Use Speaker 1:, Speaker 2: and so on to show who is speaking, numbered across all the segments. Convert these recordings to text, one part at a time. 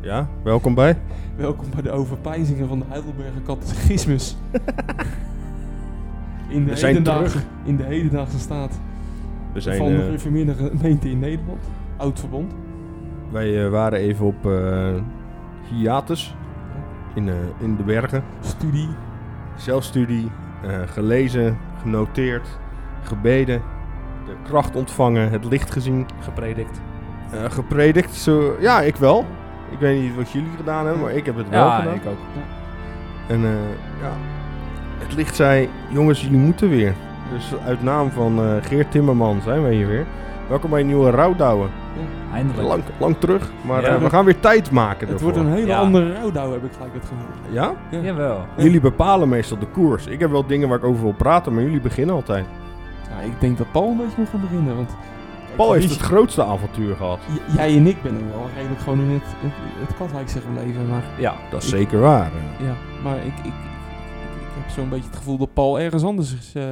Speaker 1: Ja, welkom bij.
Speaker 2: Welkom bij de overpijzingen van de Heidelberger Catechismus. in, de
Speaker 1: We zijn
Speaker 2: hedendaagse, in de hedendaagse staat
Speaker 1: We zijn,
Speaker 2: van de
Speaker 1: eh,
Speaker 2: gereformeerde gemeente in Nederland. Oud verbond.
Speaker 1: wij eh, waren even op eh hiatus in, eh, in de bergen.
Speaker 2: Studie.
Speaker 1: Zelfstudie, eh, gelezen, genoteerd, gebeden, de kracht ontvangen, het licht gezien,
Speaker 3: gepredikt.
Speaker 1: eh, gepredikt. Zo, ja, ik wel. Ik weet niet wat jullie gedaan hebben, maar ik heb het wel
Speaker 3: Ja,
Speaker 1: gedaan.
Speaker 3: ik ook.
Speaker 1: En eh, ja, het licht zei, jongens, jullie moeten weer. Dus uit naam van eh, Geert Timmerman zijn wij hier weer. Welkom bij een nieuwe Rouwdouwen.
Speaker 3: Eindelijk.
Speaker 1: Lang, lang terug, maar
Speaker 3: Ja.
Speaker 1: eh, we gaan weer tijd maken
Speaker 2: Het
Speaker 1: ervoor.
Speaker 2: wordt een hele
Speaker 3: Ja.
Speaker 2: andere rouwdouw, heb ik gelijk het gevoel.
Speaker 1: Ja?
Speaker 3: Jawel.
Speaker 1: Jullie bepalen meestal de koers. Ik heb wel dingen waar ik over wil praten, maar jullie beginnen altijd.
Speaker 2: Ja, ik denk dat Paul een beetje moet gaan beginnen, want...
Speaker 1: Paul
Speaker 2: Kijk,
Speaker 1: heeft
Speaker 2: wie-
Speaker 1: het grootste avontuur gehad.
Speaker 2: J- Jij en ik ben wel redelijk gewoon in het, het, het Katwijkse gebleven, maar...
Speaker 3: Ja.
Speaker 1: Dat is
Speaker 2: Ik-
Speaker 1: zeker waar. eh.
Speaker 2: Ja, maar ik, ik, ik, ik- ik heb zo'n beetje het gevoel dat Paul ergens anders is. eh,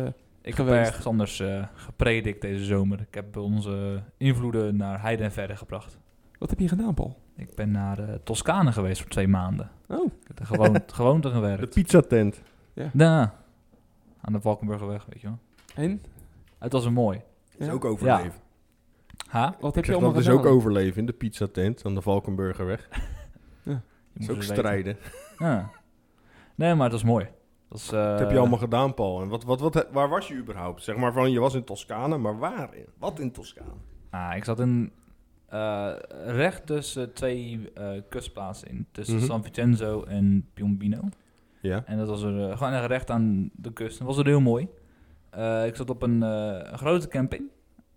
Speaker 3: Ik heb
Speaker 2: Geweest.
Speaker 3: ergens anders eh, gepredikt deze zomer. Ik heb onze invloeden naar heide en verder gebracht.
Speaker 2: wat heb je gedaan, Paul?
Speaker 3: Ik ben naar eh Toscane geweest voor twee maanden.
Speaker 2: Oh.
Speaker 3: Ik heb er gewoon, gewoon te
Speaker 1: De
Speaker 3: gewerkt.
Speaker 1: pizzatent.
Speaker 3: Ja. Aan de Valkenburgerweg, weet je wel.
Speaker 2: En?
Speaker 3: Het was een mooi.
Speaker 1: Is
Speaker 2: Ja?
Speaker 1: ook
Speaker 3: overleven. Ha?
Speaker 2: Wat
Speaker 1: Ik
Speaker 2: heb je
Speaker 1: zeg,
Speaker 2: allemaal
Speaker 1: dat is
Speaker 2: gedaan?
Speaker 1: ook overleven in de pizzatent aan de Valkenburgerweg.
Speaker 3: Je
Speaker 1: Dat is
Speaker 3: moet
Speaker 1: ook
Speaker 3: het weten.
Speaker 1: strijden.
Speaker 3: Ja. Nee, maar het was mooi. Dat is, eh,
Speaker 1: Wat heb je allemaal gedaan, Paul? En wat, wat, wat, waar was je überhaupt? Zeg maar van, je was in Toscane, maar waar? in? Wat in Toscane?
Speaker 3: Ah, ik zat in, eh, recht tussen twee eh, kustplaatsen in. Tussen
Speaker 1: Mhm.
Speaker 3: San Vincenzo en Piombino.
Speaker 1: Ja.
Speaker 3: En dat was er eh, gewoon echt recht aan de kust. Dat was er heel mooi. Eh, ik zat op een eh, een grote camping.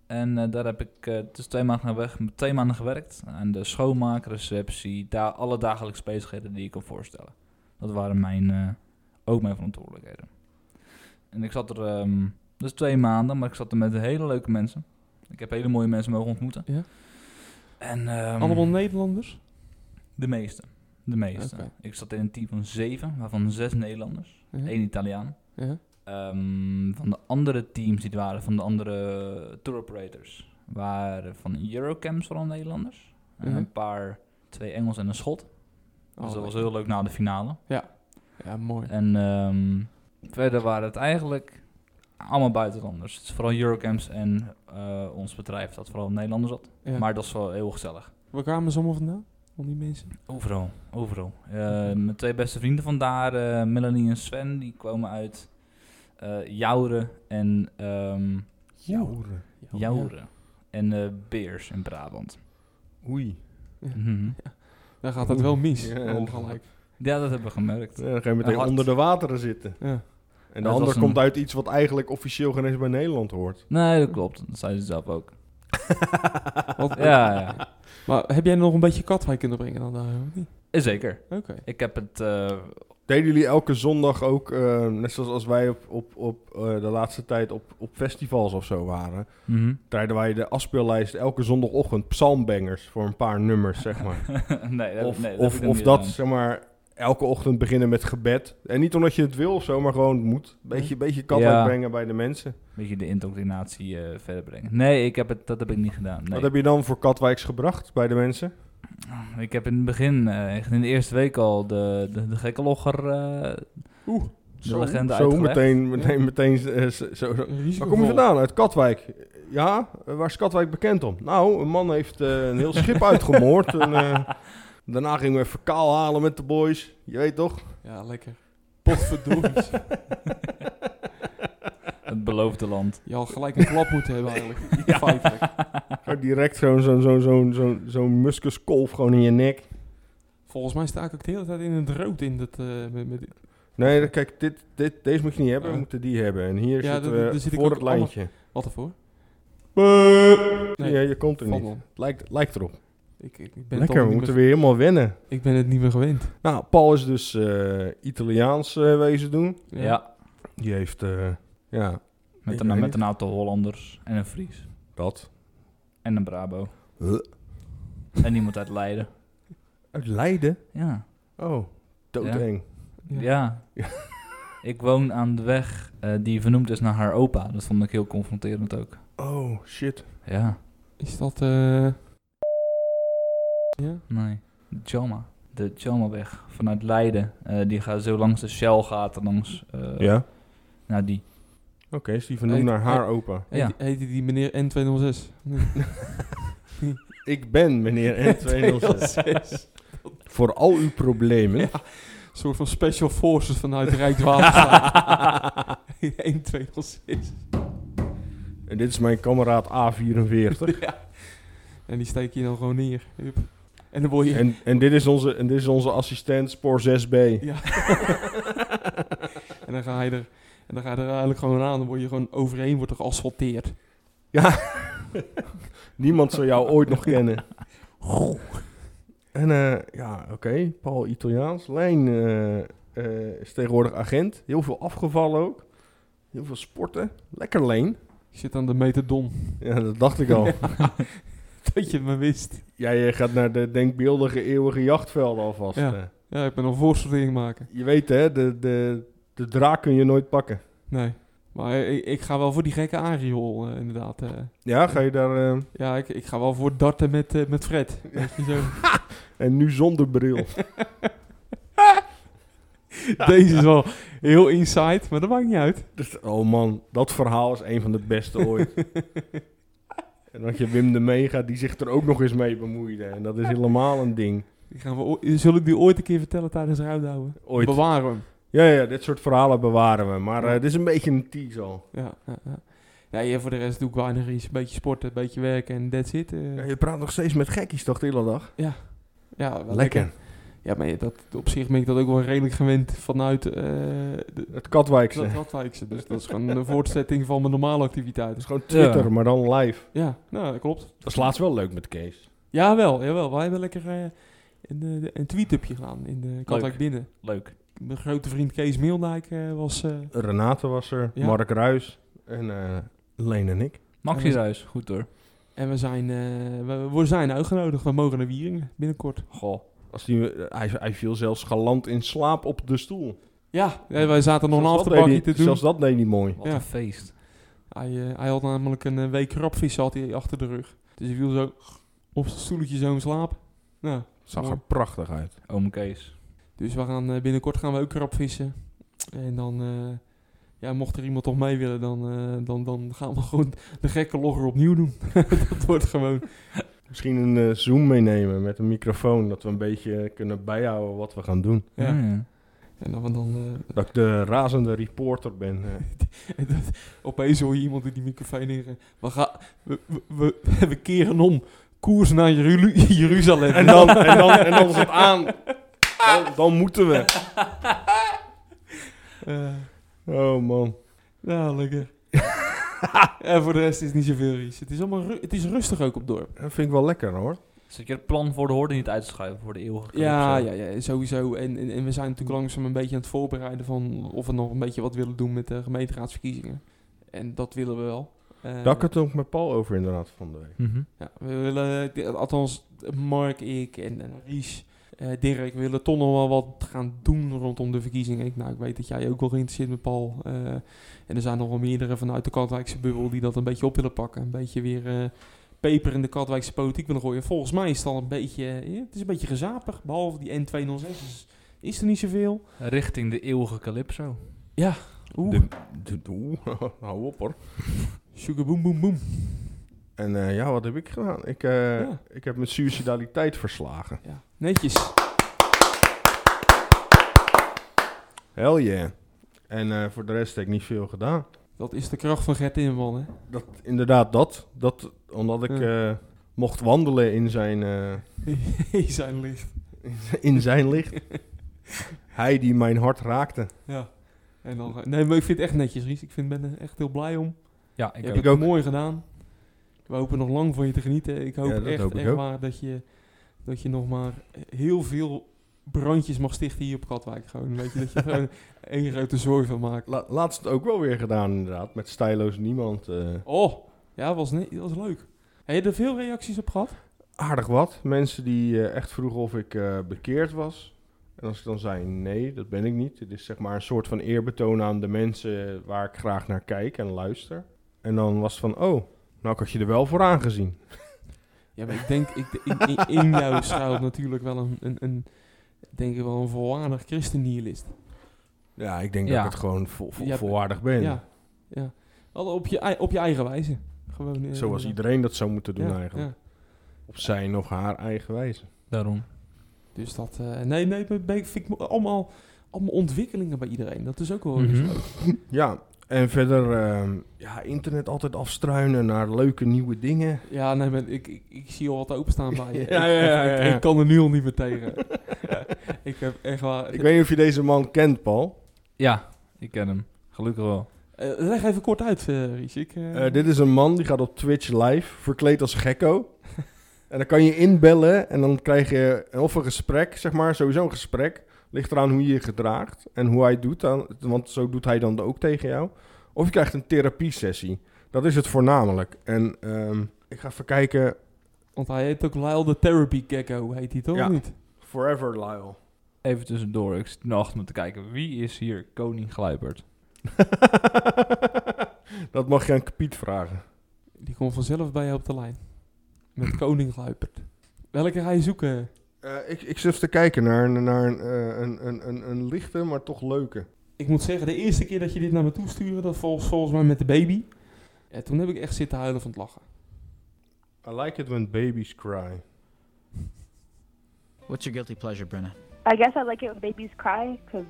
Speaker 3: En eh, daar heb ik eh, dus twee maanden, weg, twee maanden gewerkt. Aan de schoonmaak, receptie, daar alle dagelijkse bezigheden die ik kon voorstellen. Dat waren mijn, eh, ook mijn verantwoordelijkheden. En ik zat er ehm, dus twee maanden, maar ik zat er met hele leuke mensen. Ik heb hele mooie mensen mogen ontmoeten.
Speaker 2: Ja.
Speaker 3: En, ehm,
Speaker 2: Allemaal Nederlanders?
Speaker 3: De meeste. De meeste.
Speaker 2: Oké.
Speaker 3: Ik zat in een team van zeven, waarvan zes Nederlanders,
Speaker 2: Ja.
Speaker 3: één Dus Italiaan.
Speaker 2: Ja.
Speaker 3: Ehm, van de andere teams die er waren, van de andere tour operators, waren van Eurocamps vooral Nederlanders. En
Speaker 2: Mhm.
Speaker 3: een paar, twee Engels en een Schot.
Speaker 2: Oh,
Speaker 3: dus dat was heel leuk na de finale.
Speaker 2: Ja, mooi.
Speaker 3: En ehm, verder waren het eigenlijk allemaal buitenlanders. Dus vooral Eurocamps en eh, ons bedrijf dat vooral Nederlanders had.
Speaker 2: Ja.
Speaker 3: Maar dat is wel heel gezellig.
Speaker 2: Waar kwamen ze allemaal vandaan? Al die mensen?
Speaker 3: Overal, overal. Eh, mijn twee beste vrienden vandaar, eh, Melanie en Sven, die komen uit eh Jouren en... ehm,
Speaker 1: Jouren.
Speaker 3: Jouren. En eh, Beers in Brabant.
Speaker 1: Oei.
Speaker 3: Mhm.
Speaker 2: Daar gaat het wel mis.
Speaker 1: Ja,
Speaker 2: Ja, gelijk.
Speaker 3: Ja, dat hebben we gemerkt.
Speaker 1: Ja, dan ga je meteen
Speaker 3: Hard.
Speaker 1: onder de wateren zitten.
Speaker 2: Ja.
Speaker 1: En de
Speaker 3: Dat
Speaker 1: ander
Speaker 3: was een-
Speaker 1: komt uit iets wat eigenlijk officieel geen eens bij Nederland hoort.
Speaker 3: Nee, dat klopt. Dat zei ze zelf ook.
Speaker 2: Wat-
Speaker 3: Ja, ja.
Speaker 2: Maar heb jij nog een beetje Katwijk kunnen brengen dan daar? of niet?
Speaker 3: Eh, Zeker.
Speaker 2: Oké.
Speaker 3: Ik heb het... eh,
Speaker 1: Deden jullie elke zondag ook, eh, net zoals als wij op, op, op eh, de laatste tijd op, op festivals of zo waren,
Speaker 3: mhm.
Speaker 1: draaiden wij de afspeellijst elke zondagochtend psalmbangers voor een paar nummers, zeg maar.
Speaker 3: nee, dat,
Speaker 1: of
Speaker 3: nee, dat heb
Speaker 1: of,
Speaker 3: ik nog
Speaker 1: of
Speaker 3: niet
Speaker 1: dat,
Speaker 3: gedaan.
Speaker 1: zeg maar, elke ochtend beginnen met gebed. En niet omdat je het wil of zo, maar gewoon moet.
Speaker 3: Hm.
Speaker 1: Beetje, beetje kat
Speaker 3: Ja.
Speaker 1: uitbrengen bij de mensen.
Speaker 3: beetje de indoctrinatie eh, verder brengen. Nee, ik heb het, dat heb ik niet gedaan. Nee.
Speaker 1: Wat heb je dan voor Katwijks gebracht bij de mensen?
Speaker 3: Ik heb in het begin, eh, echt in de eerste week al, de, de, de gekke logger... eh,
Speaker 2: Oeh.
Speaker 3: De legende
Speaker 1: zo
Speaker 3: uitgelegd.
Speaker 1: meteen, meteen, meteen, eh, zo- zo, Waar kom je vandaan? Uit Katwijk. Ja, eh, waar is Katwijk bekend om? Nou, een man heeft eh, een heel schip uitgemoord. En, eh, daarna gingen we even kaal halen met de boys. Je weet toch?
Speaker 2: Ja, lekker. Potverdories.
Speaker 3: het beloofde land.
Speaker 2: je had gelijk een klap moeten hebben eigenlijk.
Speaker 3: Ja.
Speaker 2: Feitelijk.
Speaker 1: Gewoon direct zo'n zo'n zo'n zo'n zo'n zo'n muskuskolf gewoon in je nek.
Speaker 2: Volgens mij sta ik ook de hele tijd in het rood in dat... eh, met, met,
Speaker 1: Nee, dan- kijk, dit, dit, deze moet je niet hebben. We
Speaker 2: Oh.
Speaker 1: moeten die hebben. En hier
Speaker 2: Ja,
Speaker 1: zitten
Speaker 2: dat-
Speaker 1: we
Speaker 2: daar zit ik
Speaker 1: voor
Speaker 2: ook
Speaker 1: het lijntje.
Speaker 2: wat ervoor? Nee,
Speaker 1: ja, je komt er
Speaker 2: valt
Speaker 1: niet.
Speaker 2: wel.
Speaker 1: Lijkt, lijkt erop.
Speaker 2: Ik, ik, ik ben het
Speaker 1: Lekker,
Speaker 2: al
Speaker 1: we
Speaker 2: niet
Speaker 1: moeten
Speaker 2: meer-
Speaker 1: weer helemaal wennen.
Speaker 2: ik ben het niet meer gewend.
Speaker 1: Nou, Paul is dus eh, Italiaans eh, wezen doen.
Speaker 3: Ja,
Speaker 1: Die heeft, eh, ja,
Speaker 3: met,
Speaker 1: Ik
Speaker 3: een,
Speaker 1: weet
Speaker 3: met
Speaker 1: niet.
Speaker 3: een aantal Hollanders en een Fries.
Speaker 1: dat.
Speaker 3: En een Brabo.
Speaker 1: Huh?
Speaker 3: En iemand uit Leiden.
Speaker 1: Uit Leiden?
Speaker 3: Ja.
Speaker 1: Oh, doodeng.
Speaker 2: Ja.
Speaker 3: Ja. ik woon aan de weg eh, die vernoemd is naar haar opa. Dat vond ik heel confronterend ook.
Speaker 1: Oh, shit.
Speaker 3: Ja,
Speaker 2: Is dat... eh, Ja?
Speaker 3: nee. Tjalma. De Tjalmaweg vanuit Leiden. Eh, die gaat zo langs de Shell gaat er langs. eh,
Speaker 1: ja? Oké,
Speaker 3: Naar die.
Speaker 1: is die vernoemd
Speaker 2: Hey,
Speaker 1: naar haar opa.
Speaker 2: Heet,
Speaker 3: Ja.
Speaker 2: heette die meneer N206?
Speaker 1: Ik ben meneer N206. Voor al uw problemen.
Speaker 2: Ja. Een soort van special forces vanuit Rijkswaterstaat. 1, 2, 0, 6.
Speaker 1: En dit is mijn kameraad A44.
Speaker 2: Ja. En die steek je dan gewoon neer. Hup. En dan word je...
Speaker 1: En, en, dit is onze, en dit is onze assistent Spoor 6B.
Speaker 2: Ja. en dan ga je er... En dan ga je er eigenlijk gewoon aan. Dan word je gewoon overheen, wordt er geasfalteerd.
Speaker 1: Niemand zou jou ooit nog kennen. En eh, ja, oké. Paul Italiaans. Lijn eh, eh, is tegenwoordig agent. Heel veel afgevallen ook. Heel veel sporten. Lekker leen.
Speaker 2: Ik zit aan de metadon.
Speaker 1: Ja, dat dacht ik al.
Speaker 2: Dat je het maar wist.
Speaker 1: Jij eh, gaat naar de denkbeeldige eeuwige jachtvelden alvast.
Speaker 2: Ja.
Speaker 1: eh.
Speaker 2: Ja, ik ben een voorsortering maken.
Speaker 1: Je weet hè, de, de, de draak kun je nooit pakken.
Speaker 2: Nee. Maar eh, ik, ik ga wel voor die gekke Ariol, eh, inderdaad. eh.
Speaker 1: Ja, ga je daar... eh,
Speaker 2: Ja, ik, ik ga wel voor darten met, eh, met Fred. Weet je, zo.
Speaker 1: en nu zonder bril.
Speaker 2: Deze is wel heel inside, maar dat maakt niet uit.
Speaker 1: Dus, oh man, dat verhaal is een van de beste ooit. en dat je Wim de Mega, die zich er ook nog eens mee bemoeide. En dat is helemaal een ding.
Speaker 2: Die gaan we ooit- Zullen ik die ooit een keer vertellen tijdens Ruimdouwen?
Speaker 1: Ooit.
Speaker 2: Bewaren hem.
Speaker 1: Ja, ja, dit soort verhalen bewaren we. Maar eh, het is een beetje een tease al.
Speaker 2: Ja, ja, ja. Ja, ja, voor de rest doe ik weinig iets. Een beetje sporten, een beetje werken en that's it. eh.
Speaker 1: Ja,
Speaker 2: ja,
Speaker 1: je praat nog steeds met gekkies toch de hele dag?
Speaker 2: wel Ja, maar ja, dat, op zich ben ik dat ook wel redelijk gewend vanuit eh de,
Speaker 1: Het Katwijkse.
Speaker 2: dat
Speaker 1: Het
Speaker 2: Radwijkse. Dus dat is gewoon een voortzetting van mijn normale activiteiten.
Speaker 1: is gewoon Twitter, maar dan live.
Speaker 2: Ja, nou, dat klopt.
Speaker 1: Dat is laatst wel leuk met Kees.
Speaker 2: Jawel, jawel. Wij hebben lekker eh, een, eh, een tweet-upje gedaan in de Katwijk Binnen.
Speaker 3: Leuk.
Speaker 2: Mijn grote vriend Kees Meeldijk eh, was... eh,
Speaker 1: Renate was er,
Speaker 2: Ja.
Speaker 1: Mark Ruis en eh Leen en ik.
Speaker 3: Maxi Ruis, goed hoor.
Speaker 2: En we zijn, eh, we, we zijn uitgenodigd. We mogen naar Wieringen binnenkort.
Speaker 3: Goh.
Speaker 1: Als die, eh, hij, hij viel zelfs galant in slaap op de stoel.
Speaker 2: Ja, eh, wij zaten nog een
Speaker 1: Zelfs dat deed
Speaker 2: afterbakje
Speaker 1: hij-
Speaker 2: te doen.
Speaker 1: Zelfs dat deed niet mooi.
Speaker 3: Wat
Speaker 2: Ja.
Speaker 3: een feest.
Speaker 2: Hij, eh, hij had namelijk een eh, week krabvis had hij achter de rug. Dus hij viel zo op zijn stoeltje zo in slaap. Nou,
Speaker 1: Zag
Speaker 2: mooi.
Speaker 1: er prachtig uit.
Speaker 3: Oom Kees.
Speaker 2: Dus we gaan, eh, binnenkort gaan we ook krabvissen. En dan, eh, ja, mocht er iemand toch mee willen, dan, eh, dan, dan gaan we gewoon de gekke logger opnieuw doen. dat wordt gewoon...
Speaker 1: Misschien een eh, Zoom meenemen met een microfoon, dat we een beetje eh, kunnen bijhouden wat we gaan doen.
Speaker 2: Ja.
Speaker 3: Mm.
Speaker 2: En dan, dan eh,
Speaker 1: Dat ik de razende reporter ben. eh.
Speaker 2: En dat, opeens hoor je iemand in die microfoon in. We, gaan, we, we, we, we keren om. Koers naar Jeru- Jeruzalem.
Speaker 1: en, dan, en, dan, en dan is het aan. Dan, dan moeten we.
Speaker 2: Eh,
Speaker 1: Oh man.
Speaker 2: nou, lekker. en voor de rest is niet zoveel ries. Het is, allemaal ru- het is rustig ook op het dorp.
Speaker 1: Dat vind ik wel lekker hoor.
Speaker 3: Zit je het plan voor de hoorde niet uit te schuiven voor de eeuwige club,
Speaker 2: Ja,
Speaker 3: zo?
Speaker 2: ja, ja, sowieso. En, en, en we zijn natuurlijk langzaam een beetje aan het voorbereiden van of we nog een beetje wat willen doen met de gemeenteraadsverkiezingen. En dat willen we wel. Eh,
Speaker 1: Daar had ik het ook met Paul over inderdaad van de week.
Speaker 3: Mhm.
Speaker 2: Ja, we willen, di- althans, Mark, ik en, en Ries, eh, Dirk, we willen toch nog wel wat gaan doen rondom de verkiezingen. Ik, nou, ik weet dat jij ook wel geïnteresseerd bent, Paul. eh, en er zijn nog wel meerdere vanuit de Katwijkse bubbel die dat een beetje op willen pakken. Een beetje weer eh, peper in de Katwijkse politiek willen gooien. Volgens mij is het al een beetje, eh, het is een beetje gezapig, behalve die N206. Dus is er niet zoveel.
Speaker 3: Richting de eeuwige Calypso.
Speaker 2: Oeh,
Speaker 1: De, de, oeh, hou op hoor.
Speaker 2: sugar boom boom boom.
Speaker 1: En eh, ja, wat heb ik gedaan? Ik, eh,
Speaker 2: Ja.
Speaker 1: ik heb mijn suicidaliteit verslagen.
Speaker 2: Ja, netjes.
Speaker 1: Hell yeah. En eh, voor de rest heb ik niet veel gedaan.
Speaker 2: Dat is de kracht van Gert Inman, hè?
Speaker 1: Dat, inderdaad dat. dat. Omdat ik eh, mocht wandelen in zijn... eh,
Speaker 2: Die zijn licht.
Speaker 1: in zijn licht. Hij die mijn hart raakte.
Speaker 2: Ja. En dan, nee, maar ik vind het echt netjes, Ries. Ik vind, ben er echt heel blij om.
Speaker 3: Ja,
Speaker 2: Je
Speaker 3: ik
Speaker 2: hebt
Speaker 3: ook.
Speaker 2: het
Speaker 1: ook.
Speaker 2: mooi gedaan. We hopen nog lang van je te genieten. Ik hoop
Speaker 1: Ja, dat
Speaker 2: echt,
Speaker 1: hoop ik
Speaker 2: echt
Speaker 1: ook.
Speaker 2: waar dat je, dat je nog maar heel veel brandjes mag stichten hier op Katwijk. Gewoon, weet je, dat je er gewoon één grote zooi van maakt.
Speaker 1: La- laatst ook wel weer gedaan, inderdaad. Met Stijloos Niemand. eh.
Speaker 2: Oh, ja, was, ne- was leuk. Heb je er veel reacties op gehad?
Speaker 1: aardig wat. Mensen die eh, echt vroegen of ik eh, bekeerd was. En als ik dan zei: nee, dat ben ik niet. Dit is zeg maar een soort van eerbetoon aan de mensen waar ik graag naar kijk en luister. En dan was het van: oh, nou, ik had je er wel voor aangezien.
Speaker 2: Ja, maar ik denk, ik, ik- in, in jou schuilt natuurlijk wel een, een, een denk ik wel een volwaardig christennihilist.
Speaker 1: Ja, ik denk
Speaker 3: Ja.
Speaker 1: dat ik het gewoon vol, vol-
Speaker 2: Ja,
Speaker 1: volwaardig ben.
Speaker 2: Ja, ja. Wel Op je, ei- op je eigen wijze. Gewoon, eh,
Speaker 1: Zoals
Speaker 2: inderdaad.
Speaker 1: iedereen dat zou moeten doen
Speaker 2: Ja,
Speaker 1: eigenlijk.
Speaker 2: ja.
Speaker 1: Op zijn of haar eigen wijze.
Speaker 3: Daarom.
Speaker 2: Dus dat, eh, nee, nee, dat ben ik- vind ik mo- allemaal, allemaal ontwikkelingen bij iedereen. Dat is ook wel
Speaker 3: Mhm.
Speaker 2: weer zo.
Speaker 1: Ja, en verder ehm, ja, internet altijd afstruinen naar leuke nieuwe dingen.
Speaker 2: Ja, nee, maar ik, ik, ik zie al wat openstaan bij je.
Speaker 1: Ja, ja, ja, ja,
Speaker 2: Ik,
Speaker 1: ja.
Speaker 2: ik kan er nu al niet meer tegen. ik heb echt waar...
Speaker 1: Ik weet niet of je deze man kent, Paul.
Speaker 3: Ja, ik ken hem. Gelukkig wel.
Speaker 2: Eh, leg even kort uit, eh Ries. Ik, eh,
Speaker 1: Eh, dit is een man die gaat op Twitch live, verkleed als gekko. En dan kan je inbellen en dan krijg je of een gesprek, zeg maar, sowieso een gesprek. Ligt eraan hoe je je gedraagt en hoe hij het doet, dan, want zo doet hij dan ook tegen jou. Of je krijgt een therapie-sessie. Dat is het voornamelijk. En ehm, ik ga even kijken,
Speaker 2: Want hij heet ook Lyle the Therapy Gecko, heet hij toch?
Speaker 1: Ja.
Speaker 2: Of niet?
Speaker 1: Forever Lyle.
Speaker 3: Even tussendoor, ik zit nu achter me te kijken. Wie is hier koning Glijbert?
Speaker 1: dat mag je aan Piet vragen.
Speaker 2: Die komt vanzelf bij jou op de lijn. Met Koning Gluipert. Welke ga je zoeken?
Speaker 1: Eh, ik, ik zit even te kijken naar, een- naar een, eh, een, een, een, een lichte, maar toch leuke.
Speaker 2: Ik moet zeggen, de eerste keer dat je dit naar me toe stuurde, dat volgens, volgens mij met de baby. Ja, toen heb ik echt zitten huilen van het lachen.
Speaker 1: I like it when babies cry.
Speaker 4: What's your guilty pleasure, Brenna?
Speaker 5: I guess I like it when babies cry because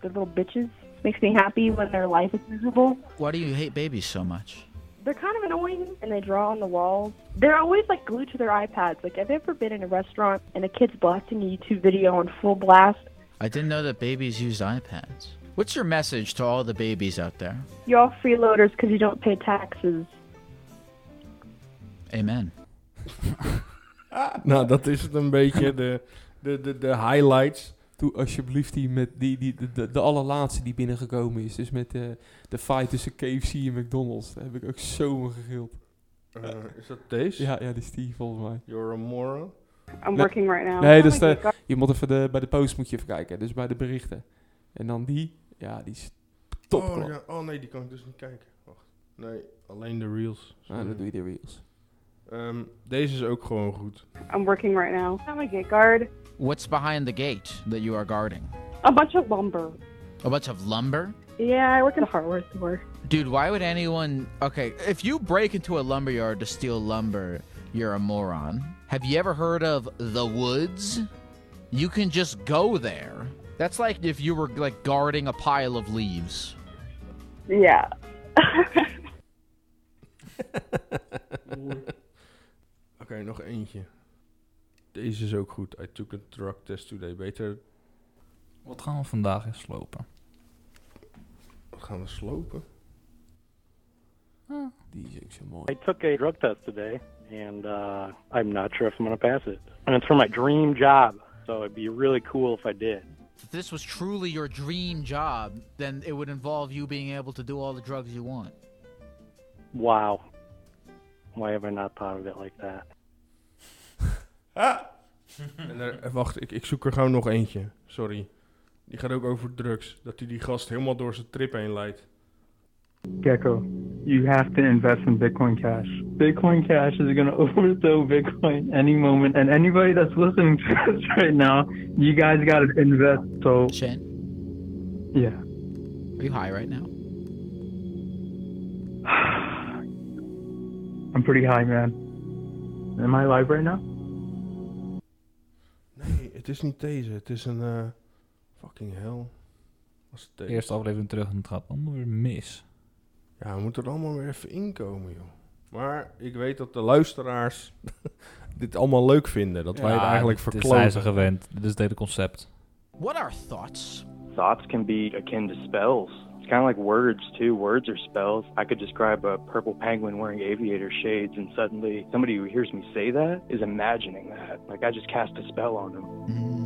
Speaker 5: they're little bitches. Makes me happy when their life is miserable.
Speaker 4: Why do you hate babies so much?
Speaker 5: They're kind of annoying and they draw on the walls. They're always like glued to their iPads. Like, have you ever been in a restaurant and a kid's blasting a YouTube video on full blast?
Speaker 4: I didn't know that babies used iPads. What's your message to all the babies out there?
Speaker 5: Y'all freeloaders because you don't pay taxes.
Speaker 4: Amen.
Speaker 1: Nou, dat is het een beetje, de, de, de, de highlights.
Speaker 2: Doe alsjeblieft die met die, die, de, de, de allerlaatste die binnengekomen is. Dus met eh, de fight tussen KFC en McDonald's. Daar heb ik ook zo om gegild.
Speaker 1: Eh, is dat deze?
Speaker 2: Ja, ja, die is die volgens mij.
Speaker 1: You're a moron.
Speaker 5: I'm
Speaker 2: Nee.
Speaker 5: working right now.
Speaker 2: Nee, dus de, je moet even de, bij de post moet je even kijken. Dus bij de berichten. En dan die. Ja, die is top.
Speaker 1: Oh, ja. oh nee, die kan ik dus niet kijken. Wacht. Nee, alleen de reels.
Speaker 2: Ah, dat doe je de reels.
Speaker 1: Ehm, deze is ook gewoon goed.
Speaker 5: I'm working right now. I'm a gate guard.
Speaker 4: What's behind the gate that you are guarding?
Speaker 5: A bunch of lumber.
Speaker 4: A bunch of lumber?
Speaker 5: Yeah, I work in a hardware store.
Speaker 4: Dude, why would anyone. Okay, if you break into a lumberyard to steal lumber, you're a moron. Have you ever heard of the woods? You can just go there. That's like if you were like guarding a pile of leaves.
Speaker 5: Yeah.
Speaker 1: Oké, nog eentje. Deze is ook goed. I took a drug test today. Beter
Speaker 3: Wat gaan we vandaag eens slopen?
Speaker 1: gaan we slopen.
Speaker 2: Die is ook zo
Speaker 6: I
Speaker 2: mooi.
Speaker 6: took a drug test today, and uh, I'm not sure if I'm going to pass it. And it's for my dream job, so it'd be really cool if I did.
Speaker 4: If this was truly your dream job, then it would involve you being able to do all the drugs you want.
Speaker 6: Wow. Why have I not thought of it like that?
Speaker 1: En er- eh, wacht, ik, ik zoek er gewoon nog eentje. Sorry. Die gaat ook over drugs. Dat hij die gast helemaal door zijn trip heen leidt.
Speaker 7: Gecko, you have to invest in Bitcoin Cash. Bitcoin Cash is going to overthrow Bitcoin any moment. And anybody that's listening to us right now, you guys got to invest. So,
Speaker 4: Shane,
Speaker 7: yeah.
Speaker 4: are you high right now?
Speaker 7: I'm pretty high, man. Am I live right now?
Speaker 1: Nee, het is niet deze. Het is een... eh, fucking hell. Was het
Speaker 3: De
Speaker 1: deze?
Speaker 3: eerste aflevering terug en het gaat allemaal weer mis.
Speaker 1: Ja, we moeten er allemaal weer even inkomen, joh. Maar ik weet dat de luisteraars dit allemaal leuk vinden. Dat wij het eigenlijk
Speaker 3: Dit zijn
Speaker 1: verkloten.
Speaker 3: ze gewend. Dit is het hele concept.
Speaker 4: What are thoughts?
Speaker 8: Thoughts can be akin to spells. It's kind of like words, too. Words are spells. I could describe a purple penguin wearing aviator shades, and suddenly somebody who hears me say that is imagining that. Like I just cast a spell on him.
Speaker 4: Mm.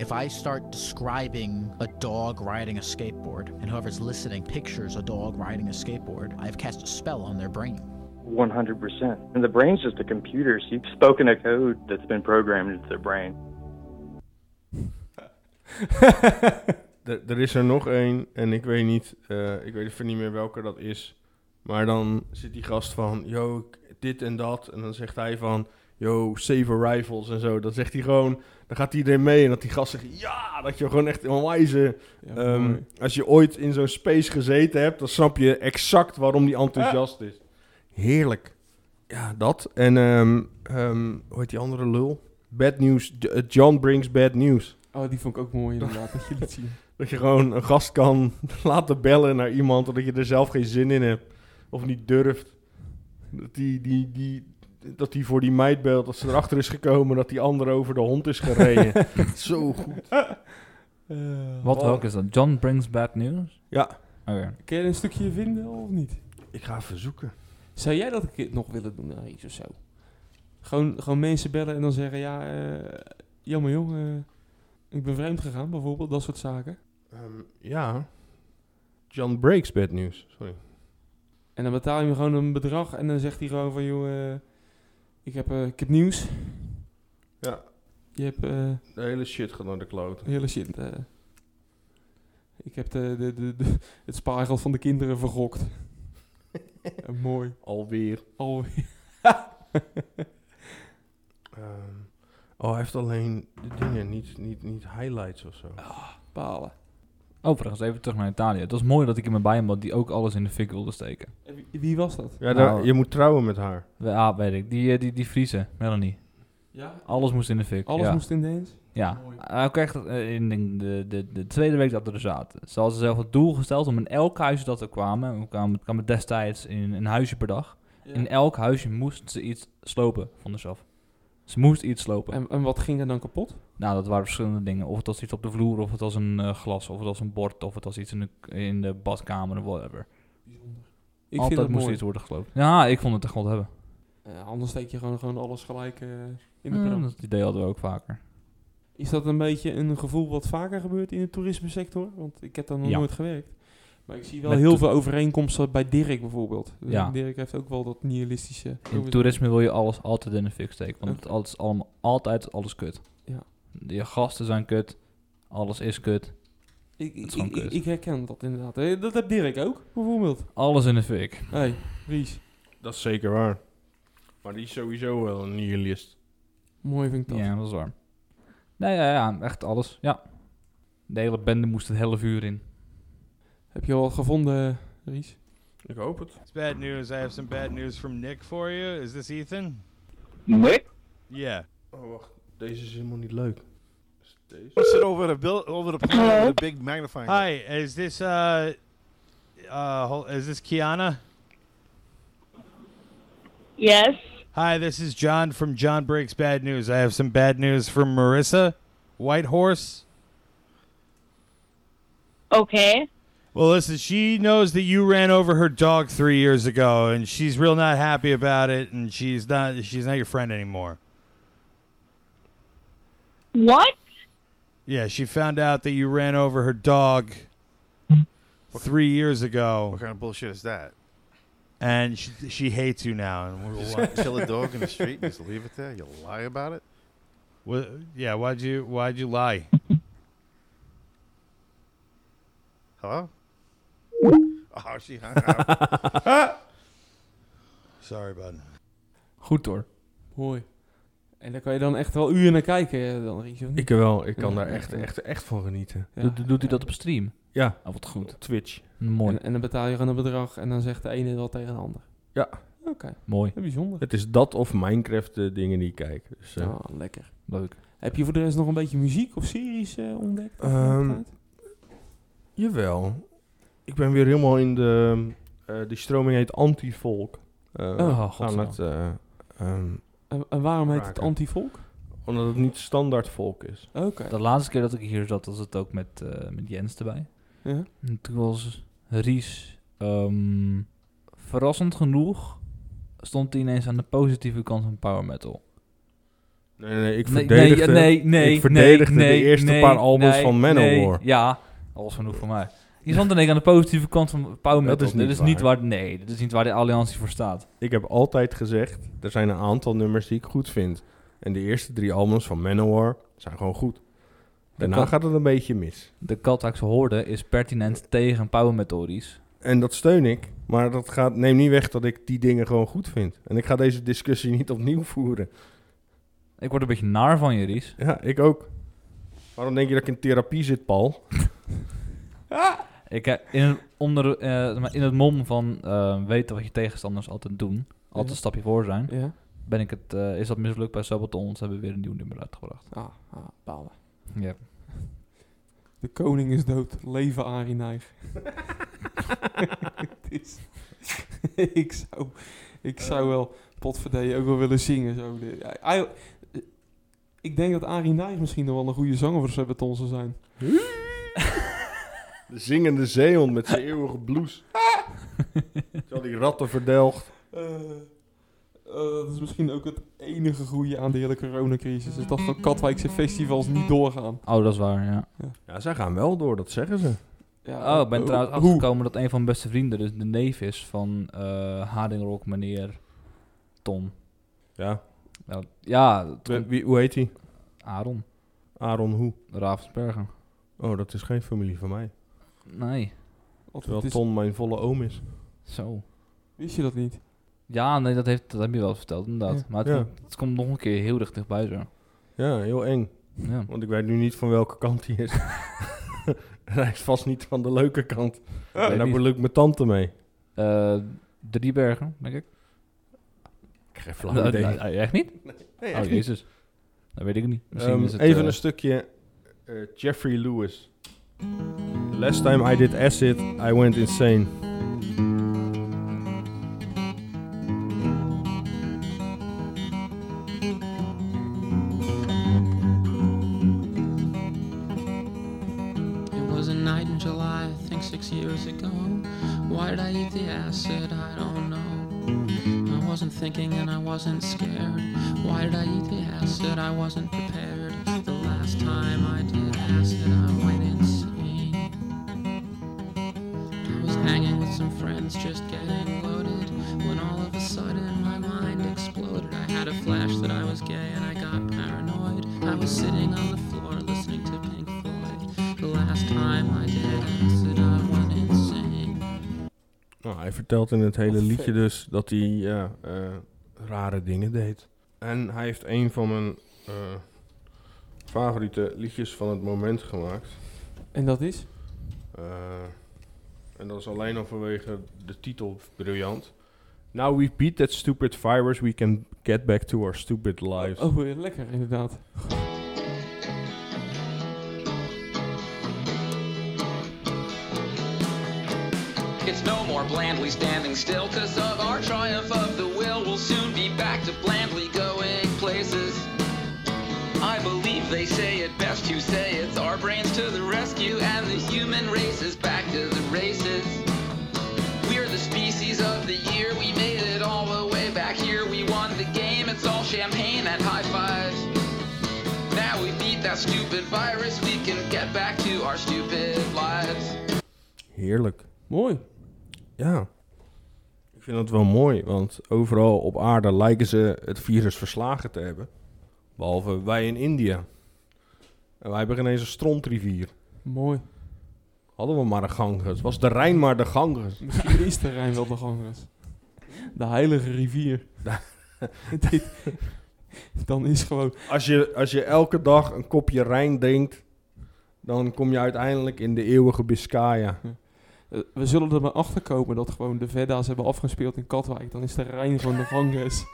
Speaker 4: If I start describing a dog riding a skateboard, and whoever's listening pictures a dog riding a skateboard, I've cast a spell on their brain.
Speaker 8: 100%. And the brain's just a computer, so you've spoken a code that's been programmed into their brain.
Speaker 1: Er- Er is er nog één en ik weet niet... eh, ik weet even niet meer welke dat is. Maar dan zit die gast van... Yo, ik- dit en dat. En dan zegt hij van... yo, save rifles en zo. Dan zegt hij gewoon, dan gaat iedereen mee en dat die gast zegt, ja, dat je gewoon echt een wijze...
Speaker 2: Ja,
Speaker 1: Ehm,
Speaker 2: mooi.
Speaker 1: als je ooit in zo'n space gezeten hebt, dan snap je exact waarom die enthousiast is. Heerlijk. Ja, dat. En ehm, ehm, hoe heet die andere lul? Bad News. J- eh, John Brings Bad News.
Speaker 2: oh, die vond ik ook mooi inderdaad, dat je liet zien.
Speaker 1: Dat je gewoon een gast kan laten bellen naar iemand, omdat je er zelf geen zin in hebt. Of niet durft. Dat die, die, die, dat die voor die meid belt, dat ze erachter is gekomen, dat die andere over de hond is gereden. Zo goed.
Speaker 2: Eh,
Speaker 3: Wat welk is dat? John Brings Bad News?
Speaker 1: Ja,
Speaker 3: Oké.
Speaker 2: Kun je er een stukje vinden of niet?
Speaker 1: ik ga even zoeken.
Speaker 2: Zou jij dat een keer nog willen doen naar iets of zo? Gewoon, gewoon mensen bellen en dan zeggen, ja, eh, jammer jong, eh, ik ben vreemd gegaan bijvoorbeeld, dat soort zaken.
Speaker 1: Ehm, ja. John Breaks Bad News. Sorry.
Speaker 2: En dan betaal je hem gewoon een bedrag en dan zegt hij gewoon van, joh, eh, ik, heb, eh, ik heb nieuws.
Speaker 1: Ja.
Speaker 2: Je hebt eh
Speaker 1: De hele shit gaat naar de kloten.
Speaker 2: hele shit. eh, ik heb de, de, de, de- het spaargeld van de kinderen vergokt. Eh, mooi.
Speaker 1: Alweer.
Speaker 2: Alweer.
Speaker 1: Ehm, oh, hij heeft alleen de dingen, niet, niet, niet highlights of zo.
Speaker 2: Balen.
Speaker 3: Overigens, even terug naar Italië. Het was mooi dat ik iemand bij hem had die ook alles in de fik wilde steken.
Speaker 2: En wie, wie was dat?
Speaker 1: Ja,
Speaker 3: daar-
Speaker 1: je moet trouwen met haar.
Speaker 3: Ja, weet ik. Die, eh, die, die Friese, Melanie.
Speaker 2: Ja.
Speaker 3: Alles moest in de fik.
Speaker 2: Alles
Speaker 3: ja.
Speaker 2: moest in de eens?
Speaker 3: Ja.
Speaker 2: Mooi.
Speaker 3: Hij kreeg dat, eh, in de, de, de, de tweede week dat we er zaten. Ze hadden zelf het doel gesteld om in elk huisje dat er kwamen... We kwamen, kwamen destijds in een huisje per dag. In elk huisje moesten ze iets slopen, vonden ze af. Ze moest iets slopen.
Speaker 2: En, en wat ging er dan kapot?
Speaker 3: Nou, dat waren verschillende dingen. Of het was iets op de vloer, of het was een eh, glas, of het was een bord, of het was iets in de, in de badkamer, of whatever.
Speaker 2: Ik
Speaker 3: Altijd
Speaker 2: vind dat
Speaker 3: moest
Speaker 2: mooi.
Speaker 3: iets worden gesloopt. Ja, ik vond het echt wel te hebben.
Speaker 2: Eh, anders steek je gewoon, gewoon alles gelijk eh, in de
Speaker 3: Mm,
Speaker 2: brand.
Speaker 3: dat idee hadden we ook vaker.
Speaker 2: Is dat een beetje een gevoel wat vaker gebeurt in de toerisme sector? Want ik heb daar nog
Speaker 3: Ja.
Speaker 2: nooit gewerkt. Maar ik zie wel
Speaker 3: Met
Speaker 2: heel
Speaker 3: to-
Speaker 2: veel overeenkomsten bij Dirk bijvoorbeeld. Dus
Speaker 3: Ja.
Speaker 2: Dirk heeft ook wel dat nihilistische...
Speaker 3: In toerisme wil je alles altijd in de fik steken, want
Speaker 2: Oké.
Speaker 3: het is allemaal, altijd alles kut.
Speaker 2: Ja.
Speaker 3: Je gasten zijn kut, alles is kut,
Speaker 2: Ik, ik,
Speaker 3: is gewoon
Speaker 2: ik-
Speaker 3: kut.
Speaker 2: ik herken dat inderdaad. Eh, Dat heb Dirk ook, bijvoorbeeld.
Speaker 3: alles in de fik.
Speaker 2: Hé, hey, Ries.
Speaker 1: Dat is zeker waar. Maar die is sowieso wel een nihilist.
Speaker 2: Mooi vind ik dat.
Speaker 3: Ja, dat is waar. Nee, ja, ja, echt alles, ja. De hele bende moest het hele vuur in.
Speaker 2: Heb je al wat gevonden, Ries?
Speaker 1: Ik hoop het.
Speaker 9: It's bad news. I have some bad news from Nick for you. Is this Ethan?
Speaker 8: Nick?
Speaker 9: Yeah.
Speaker 1: Oh, wacht. Deze is helemaal niet leuk. Is het deze?
Speaker 10: Sit over the bill over the, the big magnifying.
Speaker 9: Hi. Is this uh, uh, hol- is this Kiana?
Speaker 5: Yes.
Speaker 9: Hi. This is John from John Breaks Bad News. I have some bad news from Marissa Whitehorse.
Speaker 5: Okay.
Speaker 9: Well, listen, she knows that you ran over her dog three years ago, and she's real not happy about it, and she's not she's not your friend anymore.
Speaker 5: What?
Speaker 9: Yeah, she found out that you ran over her dog three years ago,
Speaker 10: What kind of bullshit is that?
Speaker 9: and she, she hates you now. And we-
Speaker 10: Just kill a dog in the street and just leave it there? You lie about it?
Speaker 9: Wha- yeah, why'd you why'd you lie?
Speaker 10: Hello? Oh, she hung up.
Speaker 9: Sorry, bud.
Speaker 3: Goed hoor.
Speaker 2: Mooi. En daar kan je dan echt wel uren naar kijken, eh, dan Ries, of niet?
Speaker 1: Ik wel. Ik kan
Speaker 2: Ja,
Speaker 1: daar
Speaker 2: ja,
Speaker 1: echt,
Speaker 2: ja.
Speaker 1: echt, echt van genieten.
Speaker 2: Ja.
Speaker 3: Doet, doet hij dat op stream?
Speaker 1: Ja.
Speaker 3: Oh, wat goed.
Speaker 1: Twitch.
Speaker 3: Mooi,
Speaker 2: En, en dan betaal je gewoon een bedrag en dan zegt de ene wel tegen de ander.
Speaker 1: Ja.
Speaker 2: Oké,
Speaker 3: mooi.
Speaker 2: dat is bijzonder.
Speaker 1: Het is dat of Minecraft de dingen die ik kijk. Dus, eh,
Speaker 2: Ah, lekker.
Speaker 3: Leuk.
Speaker 2: Heb je voor de rest nog een beetje muziek of series eh, ontdekt?
Speaker 1: Ehm, Jawel. Ik ben weer helemaal in de... eh, die stroming heet anti-volk. Eh, aan
Speaker 3: Oh, godzijdank.
Speaker 1: het... eh, ehm,
Speaker 2: en, en waarom heet het
Speaker 1: raken.
Speaker 2: anti-volk?
Speaker 1: Omdat het niet standaard volk is.
Speaker 2: Oké.
Speaker 3: De laatste keer dat ik hier zat, was het ook met, eh, met Jens erbij.
Speaker 2: Ja.
Speaker 3: En toen was Ries, ehm, verrassend genoeg, stond hij ineens aan de positieve kant van power metal.
Speaker 1: Nee, nee, nee, ik
Speaker 3: Nee,
Speaker 1: verdedigde,
Speaker 3: nee, nee, nee,
Speaker 1: ik verdedigde
Speaker 3: nee, nee,
Speaker 1: de eerste
Speaker 3: nee,
Speaker 1: paar albums
Speaker 3: nee,
Speaker 1: van
Speaker 3: nee,
Speaker 1: Manowar.
Speaker 3: ja, dat was genoeg voor mij. Je stond ineens aan de positieve kant van power metal.
Speaker 1: Dat is niet
Speaker 3: dit is niet waar. Nee, dit is niet waar de alliantie voor staat.
Speaker 1: Ik heb altijd gezegd, er zijn een aantal nummers die ik goed vind. En de eerste drie albums van Manowar zijn gewoon goed. Daarna
Speaker 3: kan-
Speaker 1: gaat het een beetje mis.
Speaker 3: De Katakse hoorde is pertinent tegen power metal, Ries.
Speaker 1: En dat steun ik, maar dat gaat, neem niet weg dat ik die dingen gewoon goed vind. En ik ga deze discussie niet opnieuw voeren.
Speaker 3: Ik word een beetje naar van je, Ries.
Speaker 1: Ja, ik ook. Waarom denk je dat ik in therapie zit, Paul?
Speaker 3: Ik heb in, het- onder, eh, zeg maar, in het mom van eh, weten wat je tegenstanders altijd doen, altijd
Speaker 2: Ja.
Speaker 3: een stapje voor zijn,
Speaker 2: Ja.
Speaker 3: ben ik het, eh, is dat mislukt bij Sabatons, hebben we weer een nieuw nummer uitgebracht.
Speaker 2: Ah, ah balen.
Speaker 3: Ja.
Speaker 2: De koning is dood. Leven Arie Nijg. Het is- ik zou, ik zou wel potverdee ook wel willen zingen. Zo. De- I- I- ik denk dat Arie Nijg misschien nog wel een goede zanger voor Sabaton zou zijn.
Speaker 1: De zingende zeehond met zijn eeuwige blouse. Terwijl die ratten verdelgt.
Speaker 2: Eh, eh, dat is misschien ook het enige goede aan de hele coronacrisis. Is dat de Katwijkse festivals niet doorgaan.
Speaker 3: Oh, dat is waar, ja.
Speaker 1: Ja, zij gaan wel door, dat zeggen ze.
Speaker 2: Ja,
Speaker 3: Oh, ik ben
Speaker 2: eh,
Speaker 3: trouwens
Speaker 2: hoe-
Speaker 3: afgekomen dat een van mijn beste vrienden dus de neef is van eh Hardingrock meneer Tom.
Speaker 1: Ja.
Speaker 3: Nou, ja, het
Speaker 1: Wie,
Speaker 3: komt-
Speaker 1: wie- hoe heet hij?
Speaker 3: Aaron
Speaker 1: Aaron Hoe.
Speaker 3: Ravensberger.
Speaker 1: Oh, dat is geen familie van mij.
Speaker 3: Nee,
Speaker 2: Want
Speaker 1: Terwijl
Speaker 2: het is-
Speaker 1: Ton mijn volle oom is.
Speaker 3: zo.
Speaker 2: Wist je dat niet?
Speaker 3: Ja, nee, dat, heeft, dat heb je wel verteld, inderdaad.
Speaker 2: Ja.
Speaker 3: Maar het,
Speaker 1: Ja.
Speaker 3: komt, het komt nog een keer heel erg dichtbij zo.
Speaker 1: Ja, heel eng.
Speaker 3: Ja.
Speaker 1: Want ik weet nu niet van welke kant hij is. en hij is vast niet van de leuke kant. en daar
Speaker 3: niet.
Speaker 1: belukt mijn tante mee.
Speaker 3: Eh Driebergen, denk ik.
Speaker 1: Ik geef
Speaker 3: Nee, nee, nee, echt niet?
Speaker 1: Nee,
Speaker 3: oh,
Speaker 1: echt niet.
Speaker 3: jezus. Dat weet ik niet. Misschien
Speaker 1: Ehm,
Speaker 3: is het,
Speaker 1: even
Speaker 3: eh,
Speaker 1: een stukje eh, Jeffrey Lewis. The last time I did acid, I went insane.
Speaker 11: It was a night in July, I think six years ago. Why did I eat the acid? I don't know. I wasn't thinking and I wasn't scared. Why did I eat the acid? I wasn't prepared. The last time I did acid, I went insane. I was hanging with some friends, just getting loaded. When all of a sudden my mind exploded, I had a flash that I was gay and I got paranoid. I was sitting on the floor listening to Pink Floyd. The last time I did acid, I went insane.
Speaker 1: Nou, hij vertelt in het hele
Speaker 2: Wat
Speaker 1: liedje
Speaker 2: vet.
Speaker 1: dus dat hij ja, eh, rare dingen deed. En hij heeft een van mijn eh, favoriete liedjes van het moment gemaakt.
Speaker 2: En dat is?
Speaker 1: Eh, en dat is alleen al vanwege de titel briljant. Now we beat that stupid virus, we can get back to our stupid lives.
Speaker 2: Oh, eh, lekker inderdaad.
Speaker 11: It's no more blandly standing still, cause of our triumph of the will, we'll soon be back to blandly going places. I believe they say it best who say it's our brains to the rescue, and the human race is back to the races. We're the species of the year, we made it all the way back here, we won the game, it's all champagne and high fives. Now we beat that stupid virus, we can get back to our stupid lives.
Speaker 1: Heerlijk.
Speaker 2: Mooi.
Speaker 1: Ja. Ik vind dat wel mooi, want overal op aarde lijken ze het virus verslagen te hebben. Behalve wij in India. En wij hebben ineens een strontrivier.
Speaker 2: Mooi.
Speaker 1: Hadden we maar de Ganges. Was de Rijn maar de Ganges.
Speaker 2: Misschien is de Rijn wel de Ganges. De heilige rivier. Dit, dan is gewoon...
Speaker 1: Als je, als je elke dag een kopje Rijn drinkt, dan kom je uiteindelijk in de eeuwige Biscaya.
Speaker 2: eh, we zullen er maar achter komen dat gewoon de Vedda's hebben afgespeeld in Katwijk. Dan is de Rijn gewoon de Ganges.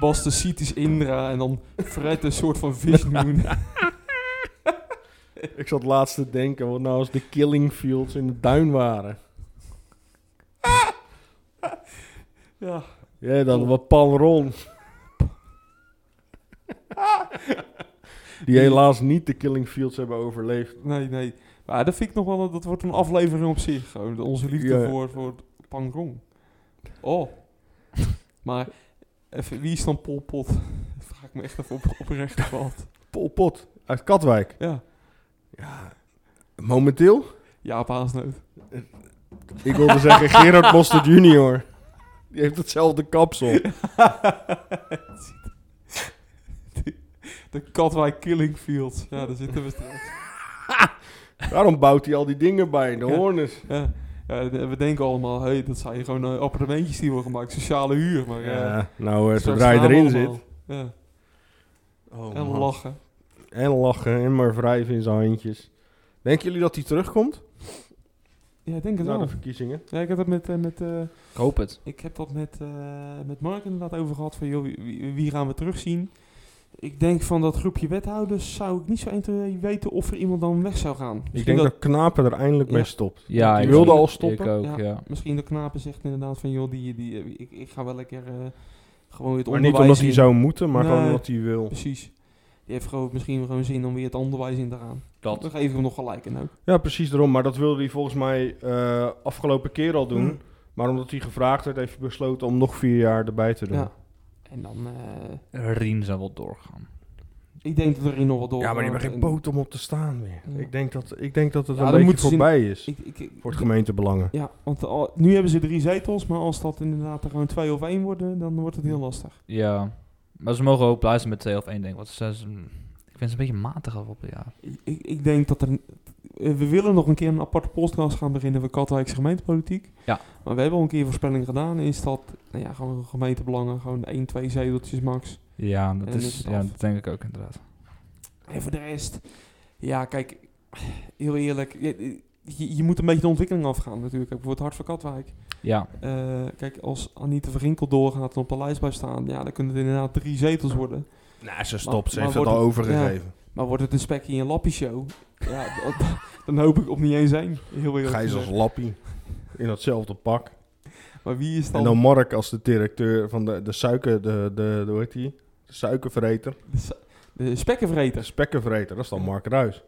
Speaker 2: Bas de Siet is Indra en dan Fred een soort van Vishnu.
Speaker 1: Ik zat laatst te denken, wat nou als de Killing Fields in de duin waren?
Speaker 2: ja.
Speaker 1: Ja, dan wat Paul Ron. Die helaas niet de Killing Fields hebben overleefd.
Speaker 2: Nee, nee. Maar dat vind ik nog wel... Dat wordt een aflevering op zich. Gewoon onze liefde
Speaker 1: Ja.
Speaker 2: voor, voor Pangrong. Oh. maar even, wie is dan Pol Pot? Dat vraag ik me echt even op, oprecht af.
Speaker 1: Pol Pot uit Katwijk.
Speaker 2: Ja.
Speaker 1: Momenteel?
Speaker 2: Ja, paasnoot.
Speaker 1: Ik wilde zeggen Gerard Mostert junior. Die heeft hetzelfde kapsel.
Speaker 2: De Katwijk Killing Fields. Ja, daar zitten we straks.
Speaker 1: Daarom bouwt hij al die dingen bij, de
Speaker 2: Ja.
Speaker 1: hoornes.
Speaker 2: Ja. Ja, en we denken allemaal, hey, dat zijn gewoon eh, appartementjes die worden gemaakt, sociale huur. Maar, eh,
Speaker 1: Ja, nou, eh,
Speaker 2: straks
Speaker 1: zodra je
Speaker 2: gaan we
Speaker 1: erin
Speaker 2: allemaal.
Speaker 1: zit.
Speaker 2: Ja.
Speaker 1: Oh,
Speaker 2: en
Speaker 1: man.
Speaker 2: lachen.
Speaker 1: En lachen en maar wrijven in zijn handjes. Denken jullie dat hij terugkomt?
Speaker 2: Ja, ik denk het
Speaker 1: Na
Speaker 2: wel.
Speaker 1: de verkiezingen.
Speaker 2: Ja, ik heb dat met... eh, met eh,
Speaker 3: Ik hoop het.
Speaker 2: Ik heb dat met, eh, met Mark inderdaad over gehad. Van, joh, wie- wie, wie gaan we terugzien? Ik denk van dat groepje wethouders zou ik niet zo 1, 2, weten of er iemand dan weg zou gaan.
Speaker 1: Ik
Speaker 2: Misschien
Speaker 1: denk dat Knapen er eindelijk mee
Speaker 2: Ja.
Speaker 1: stopt.
Speaker 3: Ja,
Speaker 1: hij
Speaker 3: ik-
Speaker 1: wilde al
Speaker 3: ik
Speaker 1: stoppen.
Speaker 2: eh,
Speaker 3: ook. ja.
Speaker 2: Misschien de knapen zegt inderdaad van, joh, die, die, eh, ik, ik ga wel lekker eh, gewoon het
Speaker 1: Maar
Speaker 2: onderwijs
Speaker 1: niet omdat hij
Speaker 2: in.
Speaker 1: zou moeten, maar gewoon
Speaker 2: Nee,
Speaker 1: omdat hij wil.
Speaker 2: Precies. Die heeft gewoon, misschien gewoon zin om weer het onderwijs in te gaan.
Speaker 3: Dat.
Speaker 2: Dan geef ik hem nog gelijk in ook.
Speaker 1: Ja, precies daarom. Maar dat wilde hij volgens mij eh, afgelopen keer al doen.
Speaker 2: Mm.
Speaker 1: Maar omdat hij gevraagd werd, heeft hij besloten om nog vier jaar erbij te doen.
Speaker 2: Ja. En dan, eh,
Speaker 3: Rien zou wel doorgaan.
Speaker 2: ik denk dat er hier nog wat door
Speaker 1: Ja, maar die hebben geen poot om op te staan meer.
Speaker 2: Ja.
Speaker 1: Ik, denk dat, ik denk dat het
Speaker 2: Ja, dan
Speaker 1: een beetje
Speaker 2: moeten ze in-
Speaker 1: voorbij is
Speaker 2: Ik- ik- ik-
Speaker 1: voor het gemeentebelangen.
Speaker 2: Ja, want al- nu hebben ze drie zetels, maar als dat inderdaad er gewoon twee of één worden, dan wordt het heel lastig.
Speaker 3: Ja. Maar ze mogen ook blijven met 2 of 1 denk ik. Want ze zijn, ze- ik vind ze een beetje matig af op de jaar.
Speaker 2: Ik- Ik, ik denk dat er... een- eh, We willen nog een keer een aparte podcast gaan beginnen voor Katwijkse gemeentepolitiek.
Speaker 3: Ja.
Speaker 2: Maar we hebben al een keer voorspelling gedaan. Is dat nou ja, gewoon gemeentebelangen, gewoon één, twee zeteltjes max.
Speaker 3: Ja,
Speaker 2: En
Speaker 3: dat,
Speaker 2: dan is
Speaker 3: is,
Speaker 2: het
Speaker 3: ja,
Speaker 2: af.
Speaker 3: dat denk ik ook inderdaad.
Speaker 2: En voor de rest, ja, kijk, heel eerlijk, je, je, je moet een beetje de ontwikkeling afgaan natuurlijk, ook voor het hart van Katwijk.
Speaker 3: Ja.
Speaker 2: Eh, kijk, als Anita Verginkel doorgaat en op de lijst blijft staan, ja, dan kunnen het inderdaad drie zetels worden.
Speaker 1: Nou, ze
Speaker 2: Maar-
Speaker 1: stopt. Ze
Speaker 2: maar
Speaker 1: heeft het
Speaker 2: wordt
Speaker 1: al
Speaker 2: het-
Speaker 1: overgegeven.
Speaker 2: ja, maar wordt het een spekje in een lappie show, ja, dat- dan hoop ik op niet eens één. Heel eerlijk
Speaker 1: Gijs als
Speaker 2: gezegd.
Speaker 1: lappie in datzelfde pak.
Speaker 2: Maar wie is
Speaker 1: En
Speaker 2: dan,
Speaker 1: dan Mark als de directeur van de, de suiker... De, de, de, hoe heet die? De suikervreter.
Speaker 2: de, s- de spekkenvreter?
Speaker 1: De spekkenvreter. Dat is dan Mark Ruis.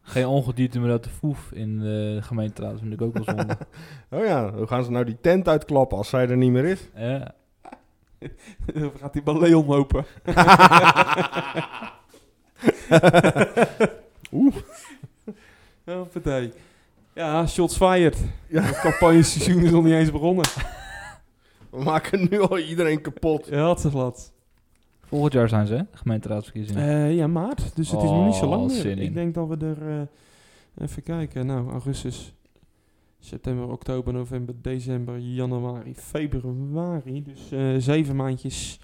Speaker 3: Geen ongedierte meer uit de foef in de gemeenteraad. Dat vind ik ook wel zonde.
Speaker 1: Oh ja, hoe gaan ze nou die tent uitklappen als zij er niet meer is?
Speaker 3: Eh,
Speaker 2: Dan gaat die ballet omlopen.
Speaker 1: Oeh.
Speaker 2: Oh, partij. Ja, shots fired. Ja. Het campagneseizoen is nog niet eens begonnen.
Speaker 1: We maken nu al iedereen kapot.
Speaker 2: Ja, had ze glad.
Speaker 3: volgend jaar zijn ze, hè? Gemeenteraadsverkiezingen.
Speaker 2: Eh, ja, maart. Dus het is nog niet zo
Speaker 3: Oh,
Speaker 2: lang meer.
Speaker 3: zin in.
Speaker 2: Ik denk dat we er... eh, even kijken. Nou, augustus, september, oktober, november, december, januari, februari. Dus eh, zeven maandjes.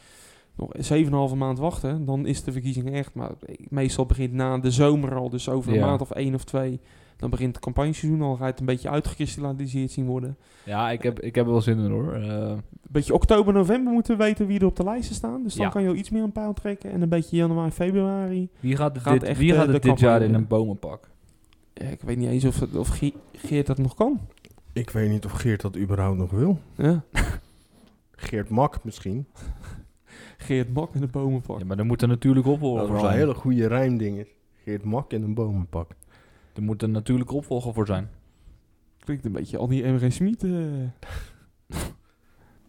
Speaker 2: Nog zeven en een halve maand wachten. Dan is de verkiezing echt. Maar ik- meestal begint na de zomer al. Dus over een
Speaker 3: Ja.
Speaker 2: maand of één of twee. Dan begint het campagneseizoen al. Ga je het een beetje uitgekristalliseerd zien worden.
Speaker 3: Ja, ik heb, ik heb er wel zin in hoor. Eh,
Speaker 2: beetje oktober, november moeten we weten wie er op de lijsten staan. Dus dan
Speaker 3: Ja.
Speaker 2: kan je al iets meer aan paal trekken. En een beetje januari, februari.
Speaker 3: wie gaat,
Speaker 2: Gaat
Speaker 3: dit,
Speaker 2: echt,
Speaker 3: wie
Speaker 2: eh,
Speaker 3: gaat
Speaker 2: de
Speaker 3: het dit jaar
Speaker 2: campagne.
Speaker 3: in een bomenpak?
Speaker 2: Ja, ik weet niet eens of, of Ge- Geert dat nog kan.
Speaker 1: Ik weet niet of Geert dat überhaupt nog wil.
Speaker 2: Ja.
Speaker 1: Geert Mak misschien.
Speaker 2: Geert Mak in de bomenpak.
Speaker 3: Ja, maar er moet er natuurlijk
Speaker 1: Dat
Speaker 3: opvolger voor
Speaker 1: was een
Speaker 3: zijn.
Speaker 1: hele goede rijmding. is. Geert Mak in een bomenpak.
Speaker 3: Er moet een natuurlijke opvolger voor zijn.
Speaker 2: Klinkt een beetje al die MR Smit. eh.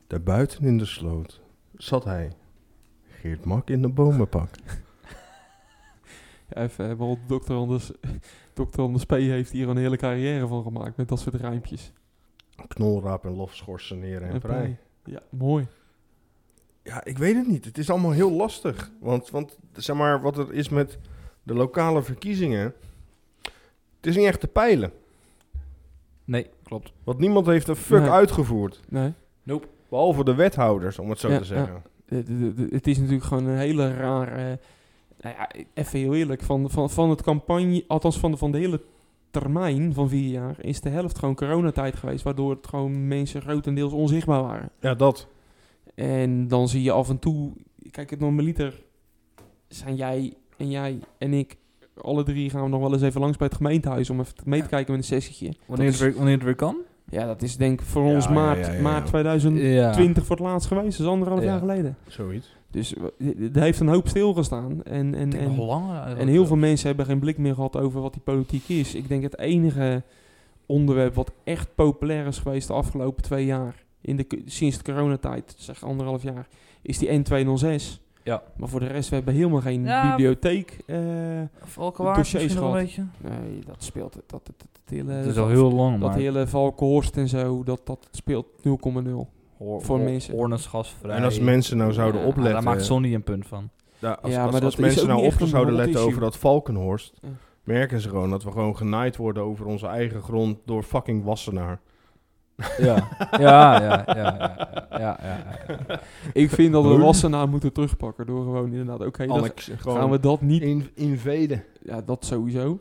Speaker 1: Daarbuiten in de sloot zat hij. Geert Mak in een bomenpak.
Speaker 2: Ja, even, eh, want dokter Anders, dokter Anders P. heeft hier een hele carrière van gemaakt met dat soort rijmpjes.
Speaker 1: Knolraap en lof, schorseneren en
Speaker 2: En
Speaker 1: prij.
Speaker 2: prei. Ja, mooi.
Speaker 1: Ja, ik weet het niet. Het is allemaal heel lastig. Want, want zeg maar, wat er is met de lokale verkiezingen. Het is niet echt te peilen.
Speaker 3: Nee, klopt.
Speaker 1: Want niemand heeft een fuck
Speaker 2: Nee.
Speaker 1: uitgevoerd.
Speaker 2: Nee.
Speaker 1: Behalve de wethouders, om het zo
Speaker 2: Ja,
Speaker 1: te zeggen.
Speaker 2: De- de- de- het is natuurlijk gewoon een hele rare... Nou ja, even heel eerlijk. Van, van, van het campagne... Althans, van de, van de hele termijn van vier jaar... is de helft gewoon coronatijd geweest... waardoor het gewoon mensen grotendeels onzichtbaar waren.
Speaker 1: Ja, dat.
Speaker 2: En dan zie je af en toe... Kijk, het normaliter zijn jij en jij en ik... Alle drie gaan we nog wel eens even langs bij het gemeentehuis... om even mee te kijken met een sessietje.
Speaker 3: Wanneer,
Speaker 2: is-
Speaker 3: het, weer, wanneer het weer kan?
Speaker 2: Ja, dat is denk ik voor
Speaker 1: Ja,
Speaker 2: ons
Speaker 1: ja,
Speaker 2: maart,
Speaker 1: ja, ja, ja.
Speaker 2: maart 2020
Speaker 3: Ja.
Speaker 2: voor het laatst geweest. Dat is anderhalf
Speaker 3: Ja.
Speaker 2: jaar geleden.
Speaker 1: Zoiets.
Speaker 2: Dus w- d- er heeft een hoop stilgestaan. En, en,
Speaker 3: Ik denk nog
Speaker 2: en,
Speaker 3: langer eigenlijk
Speaker 2: en heel
Speaker 3: wel.
Speaker 2: veel mensen hebben geen blik meer gehad over wat die politiek is. Ik denk het enige onderwerp wat echt populair is geweest de afgelopen twee jaar, in de, k- sinds de coronatijd, zeg anderhalf jaar, is die N206.
Speaker 3: Ja.
Speaker 2: Maar voor de rest, we hebben helemaal geen
Speaker 3: Ja.
Speaker 2: bibliotheek. eh,
Speaker 3: Valkenwaard
Speaker 2: dossiers
Speaker 3: misschien nog een
Speaker 2: gehad.
Speaker 3: beetje.
Speaker 2: nee, dat speelt het. Dat, dat, dat hele,
Speaker 3: Het is al heel lang,
Speaker 2: dat
Speaker 3: maar...
Speaker 2: hele Valkenhorst en zo, dat, dat speelt 0,0.
Speaker 3: Hoor-
Speaker 2: voor
Speaker 3: hoor-
Speaker 2: mensen.
Speaker 3: Hoornes gasvrij.
Speaker 1: En als mensen nou zouden
Speaker 2: Ja,
Speaker 1: opletten.
Speaker 3: Daar maakt Sonny een punt van.
Speaker 1: Ja, als
Speaker 2: Ja,
Speaker 1: als, als
Speaker 2: maar dat is
Speaker 1: mensen
Speaker 2: ook
Speaker 1: nou
Speaker 2: niet
Speaker 1: op
Speaker 2: echt een
Speaker 1: zouden
Speaker 2: hot
Speaker 1: letten
Speaker 2: issue.
Speaker 1: over dat Valkenhorst,
Speaker 2: Ja.
Speaker 1: merken ze gewoon dat we gewoon genaaid worden over onze eigen grond door fucking Wassenaar.
Speaker 3: Ja. Ja, ja, ja, ja, ja, ja, ja, ja.
Speaker 2: Ik vind dat we
Speaker 3: Boom.
Speaker 2: Wassenaar moeten terugpakken door gewoon inderdaad, oké, dan
Speaker 1: Annex,
Speaker 2: gaan
Speaker 1: gewoon
Speaker 2: we dat niet...
Speaker 1: in- inveden.
Speaker 2: Ja, dat sowieso.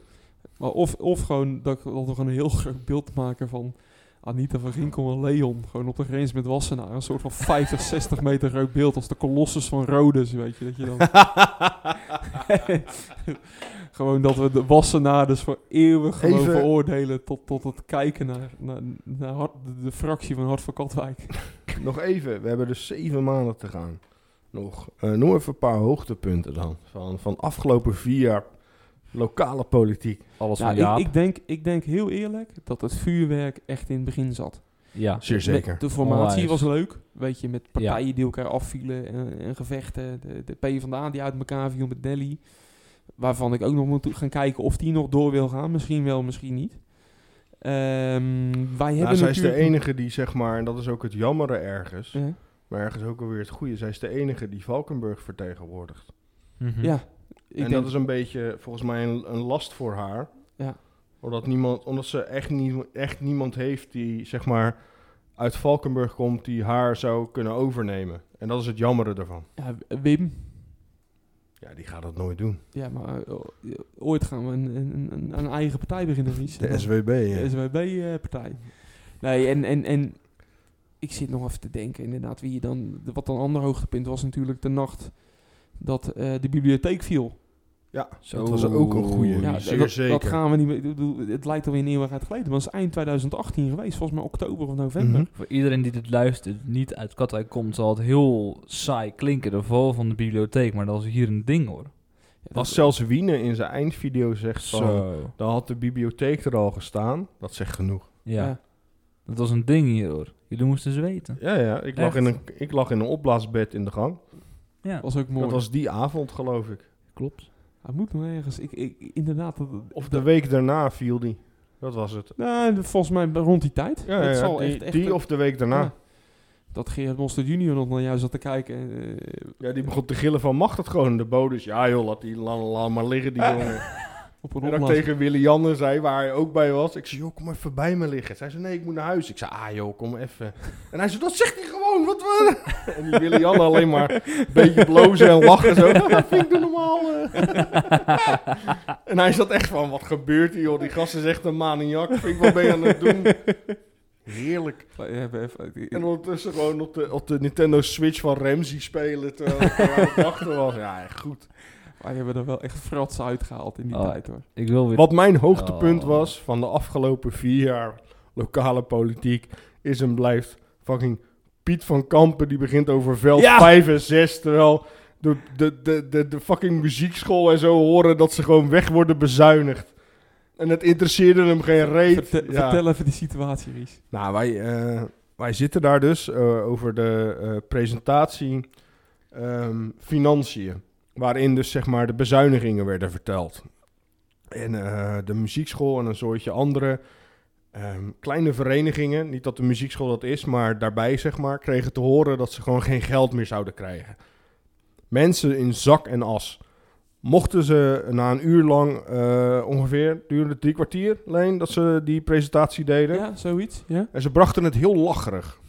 Speaker 2: Maar of, of gewoon dat, ik- dat we gewoon een heel groot beeld maken van Anita van Ginkel en Leon. Gewoon op de grens met Wassenaar. Een soort van 50, 60 meter groot beeld als de kolossus van Rhodes, weet je. Dat je dan... gewoon dat we de Wassenaar dus voor eeuwig gewoon
Speaker 1: Even-
Speaker 2: veroordelen tot, tot het kijken naar, naar, naar Hart- de, de fractie van Hart van Katwijk.
Speaker 1: Nog even, we hebben dus zeven maanden te gaan. Nog. Eh, noem even een paar hoogtepunten dan. Van, van afgelopen vier jaar lokale politiek.
Speaker 3: Alles
Speaker 2: Ja, ik, ik, denk, ik denk heel eerlijk dat het vuurwerk echt in het begin zat.
Speaker 3: Ja.
Speaker 1: Zeer
Speaker 2: Met-
Speaker 1: zeker.
Speaker 2: De formatie was
Speaker 3: Onwijs.
Speaker 2: leuk. Weet je, met partijen die elkaar afvielen en, en gevechten. De, de PvdA die uit elkaar viel met Delhi. Waarvan ik ook nog moet gaan kijken of die nog door wil gaan. Misschien wel, misschien niet. Ehm, wij
Speaker 1: Nou,
Speaker 2: hebben
Speaker 1: zij is de
Speaker 2: natuurlijk-
Speaker 1: enige die, zeg maar, en dat is ook het jammere ergens,
Speaker 2: Ja.
Speaker 1: maar ergens ook alweer het goede. Zij is de enige die Valkenburg vertegenwoordigt.
Speaker 3: Hm. Mhm.
Speaker 2: Ja,
Speaker 1: en
Speaker 2: ik denk-
Speaker 1: dat is een beetje, volgens mij, een, een last voor haar.
Speaker 2: Ja.
Speaker 1: Omdat, niemand, omdat ze echt, niet, echt niemand heeft die, zeg maar, uit Valkenburg komt die haar zou kunnen overnemen. En dat is het jammere ervan.
Speaker 2: ja, Wim.
Speaker 1: Ja, die gaat dat nooit doen.
Speaker 2: Ja, maar eh, ooit gaan we een, een, een, een eigen partij beginnen. Ries.
Speaker 1: De
Speaker 2: Dan-
Speaker 1: SWB, hè?
Speaker 2: De SWB-partij. Nee, en, en, en ik zit nog even te denken inderdaad. Wie je dan, de- wat een ander hoogtepunt was natuurlijk de nacht dat eh, de bibliotheek viel.
Speaker 1: Ja, dat was ook een goeie.
Speaker 2: Ja,
Speaker 1: Zeer
Speaker 2: dat,
Speaker 1: zeker.
Speaker 2: dat gaan we niet meer. ik bedoel, Het lijkt alweer een eeuwigheid geleden. Maar het is eind 2018 geweest. Volgens mij oktober of
Speaker 1: Mhm.
Speaker 2: november.
Speaker 3: Voor iedereen die dit luistert, niet uit Katwijk komt, zal het heel saai klinken. De val van de bibliotheek, maar dat is hier een ding hoor.
Speaker 1: Als zelfs Wiene in zijn eindvideo zegt van,
Speaker 3: Zo.
Speaker 1: dan had de bibliotheek er al gestaan. Dat zegt genoeg.
Speaker 3: Ja. Dat was een ding hier hoor. Jullie moesten zweten.
Speaker 1: Ja, ja. Ik lag,
Speaker 3: Echt.
Speaker 1: in een, ik lag in een opblaasbed in de gang.
Speaker 3: Ja.
Speaker 2: Was ook mooi.
Speaker 1: Dat was die avond, geloof ik.
Speaker 3: Klopt.
Speaker 2: Hij moet nog ergens. Ik, ik, inderdaad. dat-
Speaker 1: Of de week daarna viel die. Dat was het.
Speaker 2: Nou, volgens mij rond die tijd.
Speaker 1: Ja, ja,
Speaker 2: Het
Speaker 1: ja.
Speaker 2: zal
Speaker 1: Die-
Speaker 2: echt, echt
Speaker 1: die of de week daarna.
Speaker 2: Ja. Dat Gerard Monster junior nog naar jou zat te kijken. eh,
Speaker 1: Ja, die begon te gillen van, mag dat gewoon? De bodus, ja joh, laat die la, la maar liggen, die jongen.
Speaker 2: Op een
Speaker 1: en dan
Speaker 2: opblaas-
Speaker 1: tegen Willy Janne zei, waar hij ook bij was. Ik zei, joh, kom even bij me liggen. Zij zei, nee, ik moet naar huis. Ik zei, ah joh, kom even. En hij zei, dat zegt hij gewoon, wat we... En die Willy Janne alleen maar een beetje blozen en lachen zo. Nou, dat vind ik doe normaal. eh. en hij zat echt van, wat gebeurt hier joh? Die gast is echt een maniak. Vind ik, wat ben je aan het doen? Heerlijk.
Speaker 2: Ja, we Eh, even-
Speaker 1: En ondertussen gewoon op de, op de Nintendo Switch van Ramsey spelen terwijl ik aan het wachten was. Ja, echt goed.
Speaker 2: Wij hebben er wel echt frats uitgehaald in die
Speaker 3: Oh,
Speaker 2: tijd hoor.
Speaker 3: Ik wil weer...
Speaker 1: Wat mijn hoogtepunt
Speaker 3: Oh.
Speaker 1: was van de afgelopen vier jaar lokale politiek is en blijft fucking Piet van Kampen die begint over veld
Speaker 2: Ja!
Speaker 1: 5 en 6. Terwijl de, de, de, de, de fucking muziekschool en zo horen dat ze gewoon weg worden bezuinigd. En het interesseerde hem geen reet.
Speaker 2: Vertel,
Speaker 1: Ja.
Speaker 2: vertel even die situatie, Ries.
Speaker 1: Nou, wij, eh, wij zitten daar dus eh, over de eh, presentatie ehm, financiën. Waarin dus zeg maar de bezuinigingen werden verteld. En eh, de muziekschool en een soortje andere ehm, kleine verenigingen, niet dat de muziekschool dat is, maar daarbij zeg maar, kregen te horen dat ze gewoon geen geld meer zouden krijgen. Mensen in zak en as. Mochten ze na een uur lang eh, ongeveer, duurde drie kwartier, Leen, dat ze die presentatie deden.
Speaker 2: Ja, zoiets. Ja.
Speaker 1: En ze brachten het heel lacherig.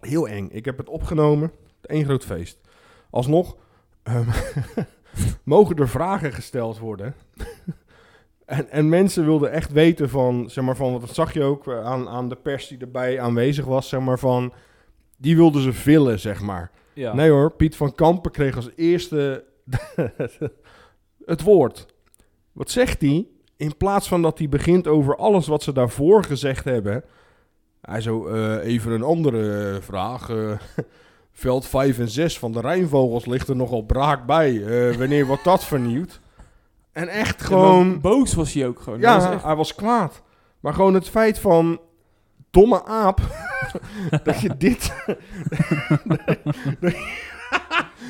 Speaker 1: Heel eng. Ik heb het opgenomen. Eén groot feest. Alsnog ehm, mogen er vragen gesteld worden. en, en mensen wilden echt weten van, zeg maar van, want dat zag je ook eh, aan, aan de pers die erbij aanwezig was, zeg maar van, die wilden ze villen, zeg maar.
Speaker 3: Ja.
Speaker 1: Nee hoor, Piet van Kampen kreeg als eerste het woord. Wat zegt hij? In plaats van dat hij begint over alles wat ze daarvoor gezegd hebben. Hij zo, eh, even een andere eh, vraag. eh, veld 5 en 6 van de Rijnvogels ligt er nogal braak bij. Eh, wanneer wordt dat vernieuwd? En echt gewoon...
Speaker 2: maar Boos was hij ook gewoon.
Speaker 1: Ja,
Speaker 2: Dat was echt-
Speaker 1: hij was kwaad. Maar gewoon het feit van... Domme aap. dat je dit...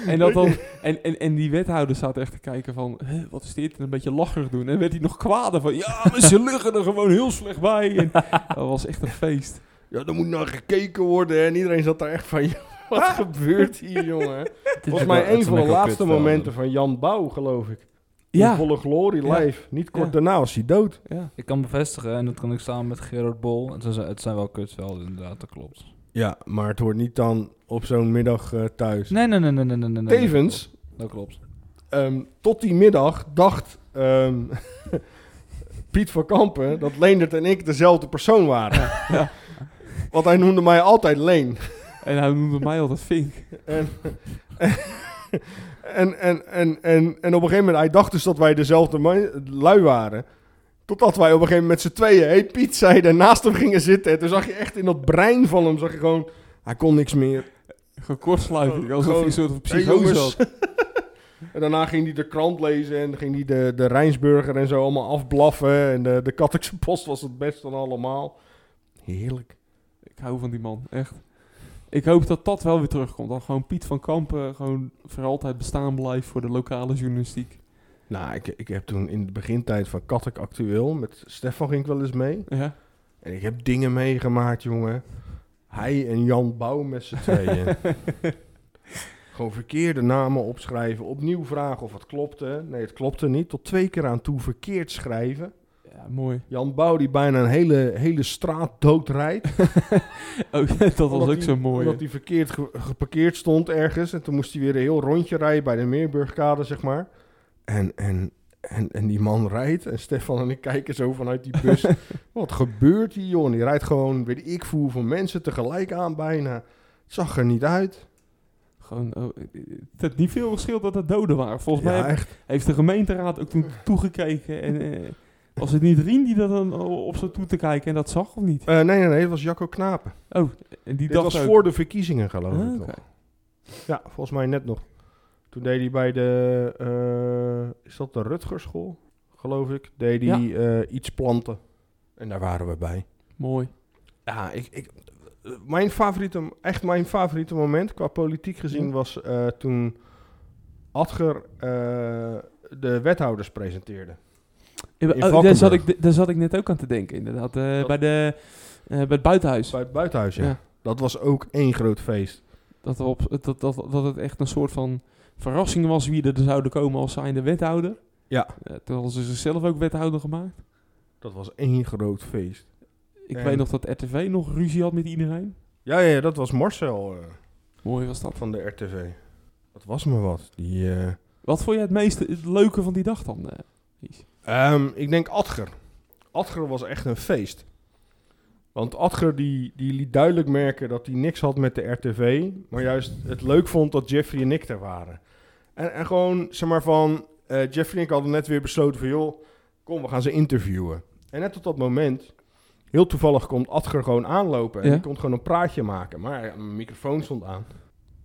Speaker 2: en, dat dan, en, en, en die wethouder staat echt te kijken van, "Hè, wat is dit? En een beetje lacherig doen. En werd hij nog kwader van, ja, maar ze liggen er gewoon heel slecht bij. En dat was echt een feest.
Speaker 1: Ja, er moet naar gekeken worden. En iedereen zat daar echt van... "Ja, Wat gebeurt hier, jongen?
Speaker 3: Het is
Speaker 1: Volgens
Speaker 3: ook
Speaker 1: mij
Speaker 3: wel- het
Speaker 1: een
Speaker 3: is
Speaker 1: van
Speaker 3: ook
Speaker 1: de
Speaker 3: wel
Speaker 1: laatste
Speaker 3: kut, eh,
Speaker 1: momenten van Jan Bouw, geloof ik. In
Speaker 2: Ja.
Speaker 1: volle glorie
Speaker 2: Ja.
Speaker 1: live. Niet kort
Speaker 2: Ja.
Speaker 1: daarna was hij dood.
Speaker 3: Ik kan bevestigen, en dat kan ik samen met Gerard Bol. Het zijn, het zijn wel kutvelden, inderdaad, dat klopt.
Speaker 1: Ja, maar het wordt niet dan op zo'n middag eh, thuis.
Speaker 3: Nee, nee, nee, nee, nee, nee, nee, nee.
Speaker 1: Tevens,
Speaker 3: Dat klopt.
Speaker 1: ehm, tot die middag dacht ehm, Piet van Kampen dat Leendert en ik dezelfde persoon waren. Want hij noemde mij altijd Leen.
Speaker 2: En hij noemde mij altijd Fink.
Speaker 1: En, en, en, en, en, en op een gegeven moment, hij dacht dus dat wij dezelfde man- lui waren. Totdat wij op een gegeven moment met z'n tweeën, hey Piet, zeiden, en naast hem gingen zitten. En toen zag je echt in dat brein van hem, zag je gewoon, hij kon niks meer.
Speaker 2: Gekortsluiting, alsof hij
Speaker 1: Gewoon,
Speaker 2: een soort van
Speaker 1: hey,
Speaker 2: psychose
Speaker 1: jongens.
Speaker 2: had.
Speaker 1: En daarna ging hij de krant lezen en ging hij de, de Rijnsburger en zo allemaal afblaffen. En de, de Katwijkse Post was het best van allemaal. Heerlijk.
Speaker 2: Ik hou van die man, echt. Ik hoop dat dat wel weer terugkomt. Dat gewoon Piet van Kampen gewoon voor altijd bestaan blijft voor de lokale journalistiek.
Speaker 1: Nou, ik, ik heb toen in de begintijd van Kattek Actueel, met Stefan ging ik wel eens mee.
Speaker 2: Ja.
Speaker 1: En ik heb dingen meegemaakt, jongen. Hij en Jan Bouw met z'n tweeën. Gewoon verkeerde namen opschrijven. Opnieuw vragen of het klopte. Nee, het klopte niet. Tot twee keer aan toe verkeerd schrijven.
Speaker 2: Ja, mooi.
Speaker 1: Jan Bouw die bijna een hele, hele straat doodrijdt.
Speaker 2: Ook, Oh, dat was
Speaker 1: Omdat
Speaker 2: ook
Speaker 1: die-
Speaker 2: zo mooi.
Speaker 1: Omdat hij verkeerd ge- geparkeerd stond ergens. En toen moest hij weer een heel rondje rijden bij de Meerburgkade, zeg maar. En, en, en, en die man rijdt. En Stefan en ik kijken zo vanuit die bus. Wat gebeurt hier, joh? En Die rijdt gewoon, weet ik veel, hoeveel mensen tegelijk aan bijna. Het zag er niet uit.
Speaker 2: Gewoon, oh, het had niet veel verschil dat het doden waren. Volgens
Speaker 1: Ja,
Speaker 2: mij heb-
Speaker 1: echt.
Speaker 2: heeft de gemeenteraad ook toen toegekeken. En eh, was het niet Rien die dat dan op zo toe te kijken en dat zag of niet?
Speaker 1: Eh, nee, nee, nee, het was Jacco Knapen.
Speaker 2: Oh, en die
Speaker 1: Dit
Speaker 2: dacht
Speaker 1: was
Speaker 2: ook-
Speaker 1: voor de verkiezingen, geloof
Speaker 2: Ah,
Speaker 1: ik
Speaker 2: oké.
Speaker 1: nog. Ja, volgens mij net nog. Toen deed hij bij de, eh, is dat de Rutgerschool, geloof ik, deed hij eh, iets planten. En daar waren we bij.
Speaker 2: Mooi.
Speaker 1: Ja, ik, ik, eh, mijn favoriete, echt mijn favoriete moment qua politiek gezien
Speaker 2: Ja.
Speaker 1: was eh, toen Adger eh, de wethouders presenteerde.
Speaker 2: Ja,
Speaker 1: In
Speaker 2: maar- oh, daar,
Speaker 1: Valkenburg.
Speaker 2: zat ik, daar zat ik net ook aan te denken, inderdaad. eh, bij, de, eh, bij het buitenhuis.
Speaker 1: Bij het buitenhuis, ja.
Speaker 2: Ja.
Speaker 1: Dat was ook één groot feest.
Speaker 2: Dat, er op, dat, dat, dat het echt een soort van verrassing was wie er zouden komen als zijnde wethouder.
Speaker 1: Ja.
Speaker 2: Eh, toen hadden ze zichzelf ook wethouder gemaakt.
Speaker 1: Dat was één groot feest.
Speaker 2: Ik
Speaker 1: En-
Speaker 2: weet nog dat RTV nog ruzie had met iedereen.
Speaker 1: Ja, ja, ja, dat was Marcel eh,
Speaker 2: Mooi was dat.
Speaker 1: van de RTV. Dat was me wat. Die, eh,
Speaker 2: Wat vond jij het meeste het leuke van die dag dan? eh?
Speaker 1: Ehm, ik denk Adger. Adger was echt een feest. Want Adger die, die liet duidelijk merken dat hij niks had met de RTV. Maar juist het leuk vond dat Jeffrey en ik er waren. En, en gewoon, zeg maar van... eh, Jeffrey en ik hadden net weer besloten van... joh, kom, we gaan ze interviewen. En net op dat moment... Heel toevallig komt Adger gewoon aanlopen. En
Speaker 2: Ja.
Speaker 1: die komt gewoon een praatje maken. Maar ja, mijn microfoon stond aan.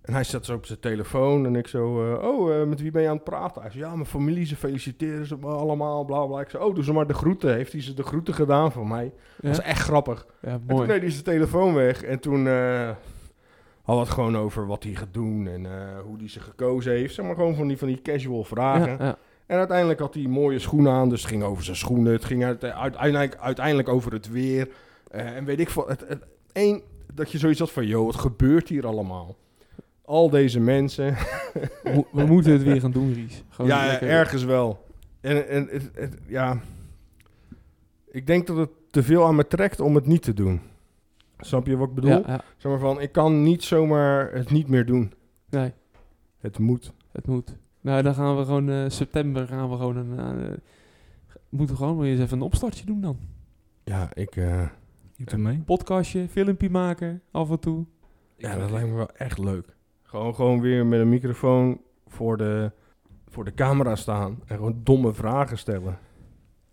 Speaker 1: En hij zat zo op zijn telefoon en ik zo, eh, oh, eh, met wie ben je aan het praten? Hij zei, ja, mijn familie, ze feliciteren ze me allemaal, bla bla. Ik zei, oh, doe ze maar de groeten. Heeft hij ze de groeten gedaan voor mij?
Speaker 2: Ja.
Speaker 1: Dat is echt grappig.
Speaker 2: Ja,
Speaker 1: En toen
Speaker 2: mooi.
Speaker 1: deed hij zijn telefoon weg en toen eh hadden we het gewoon over wat hij gaat doen en eh, hoe hij ze gekozen heeft. Zeg maar gewoon van die, van die casual vragen.
Speaker 2: Ja, ja.
Speaker 1: En uiteindelijk had hij mooie schoenen aan, dus het ging over zijn schoenen. Het ging uite- uiteindelijk, uiteindelijk over het weer. Eh, en weet ik veel. Het, het, één, dat je zoiets had van, joh, wat gebeurt hier allemaal? Al deze mensen.
Speaker 2: Mo- We moeten het weer gaan doen, Ries. Gewoon
Speaker 1: ja,
Speaker 2: lekker-
Speaker 1: ergens wel. En, en het, het- ja, ik denk dat het te veel aan me trekt om het niet te doen. Snap je wat ik bedoel?
Speaker 2: Ja, ja.
Speaker 1: Zeg maar van, ik kan niet zomaar het niet meer doen.
Speaker 2: Nee.
Speaker 1: Het moet.
Speaker 2: Het moet. Nou, dan gaan we gewoon eh, september gaan we gewoon een. eh, moeten we gewoon weer eens even een opstartje doen dan.
Speaker 1: Ja, ik... eh,
Speaker 3: Ik doe mee.
Speaker 2: Podcastje, filmpje maken, af en toe.
Speaker 1: Ja, dat lijkt me wel echt leuk. Gewoon, gewoon weer met een microfoon voor de, voor de camera staan en gewoon domme vragen stellen.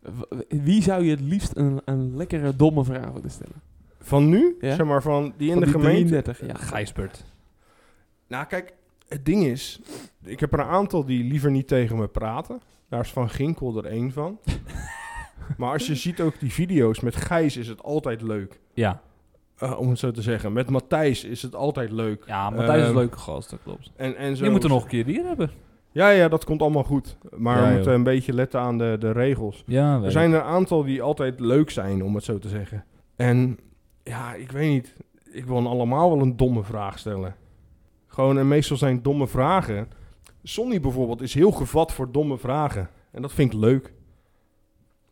Speaker 2: W- Wie zou je het liefst een, een lekkere domme vraag willen stellen?
Speaker 1: Van nu,
Speaker 2: Ja?
Speaker 1: zeg maar van die in
Speaker 2: Van
Speaker 1: de
Speaker 2: die
Speaker 1: gemeente.
Speaker 2: 33, ja.
Speaker 3: Gijsbert.
Speaker 1: Nou, kijk, het ding is, ik heb er een aantal die liever niet tegen me praten. Daar is Van Ginkel er één van. maar als je ziet ook die video's met Gijs is het altijd leuk.
Speaker 3: Ja.
Speaker 1: Eh, om het zo te zeggen. Met Matthijs is het altijd leuk.
Speaker 3: Ja, Matthijs is
Speaker 1: Ehm,
Speaker 3: een leuke gast, dat klopt.
Speaker 1: En, en zo
Speaker 3: Die moeten we nog een keer hier hebben.
Speaker 1: Ja, ja, dat komt allemaal goed. Maar
Speaker 3: Ja,
Speaker 1: we
Speaker 3: joh.
Speaker 1: moeten een beetje letten aan de, de regels.
Speaker 3: Ja,
Speaker 1: Er
Speaker 3: weet
Speaker 1: zijn er een aantal die altijd leuk zijn, om het zo te zeggen. En ja, ik weet niet. Ik wil hen allemaal wel een domme vraag stellen. Gewoon, en meestal zijn domme vragen. Sonny bijvoorbeeld is heel gevat voor domme vragen. En dat vind ik leuk.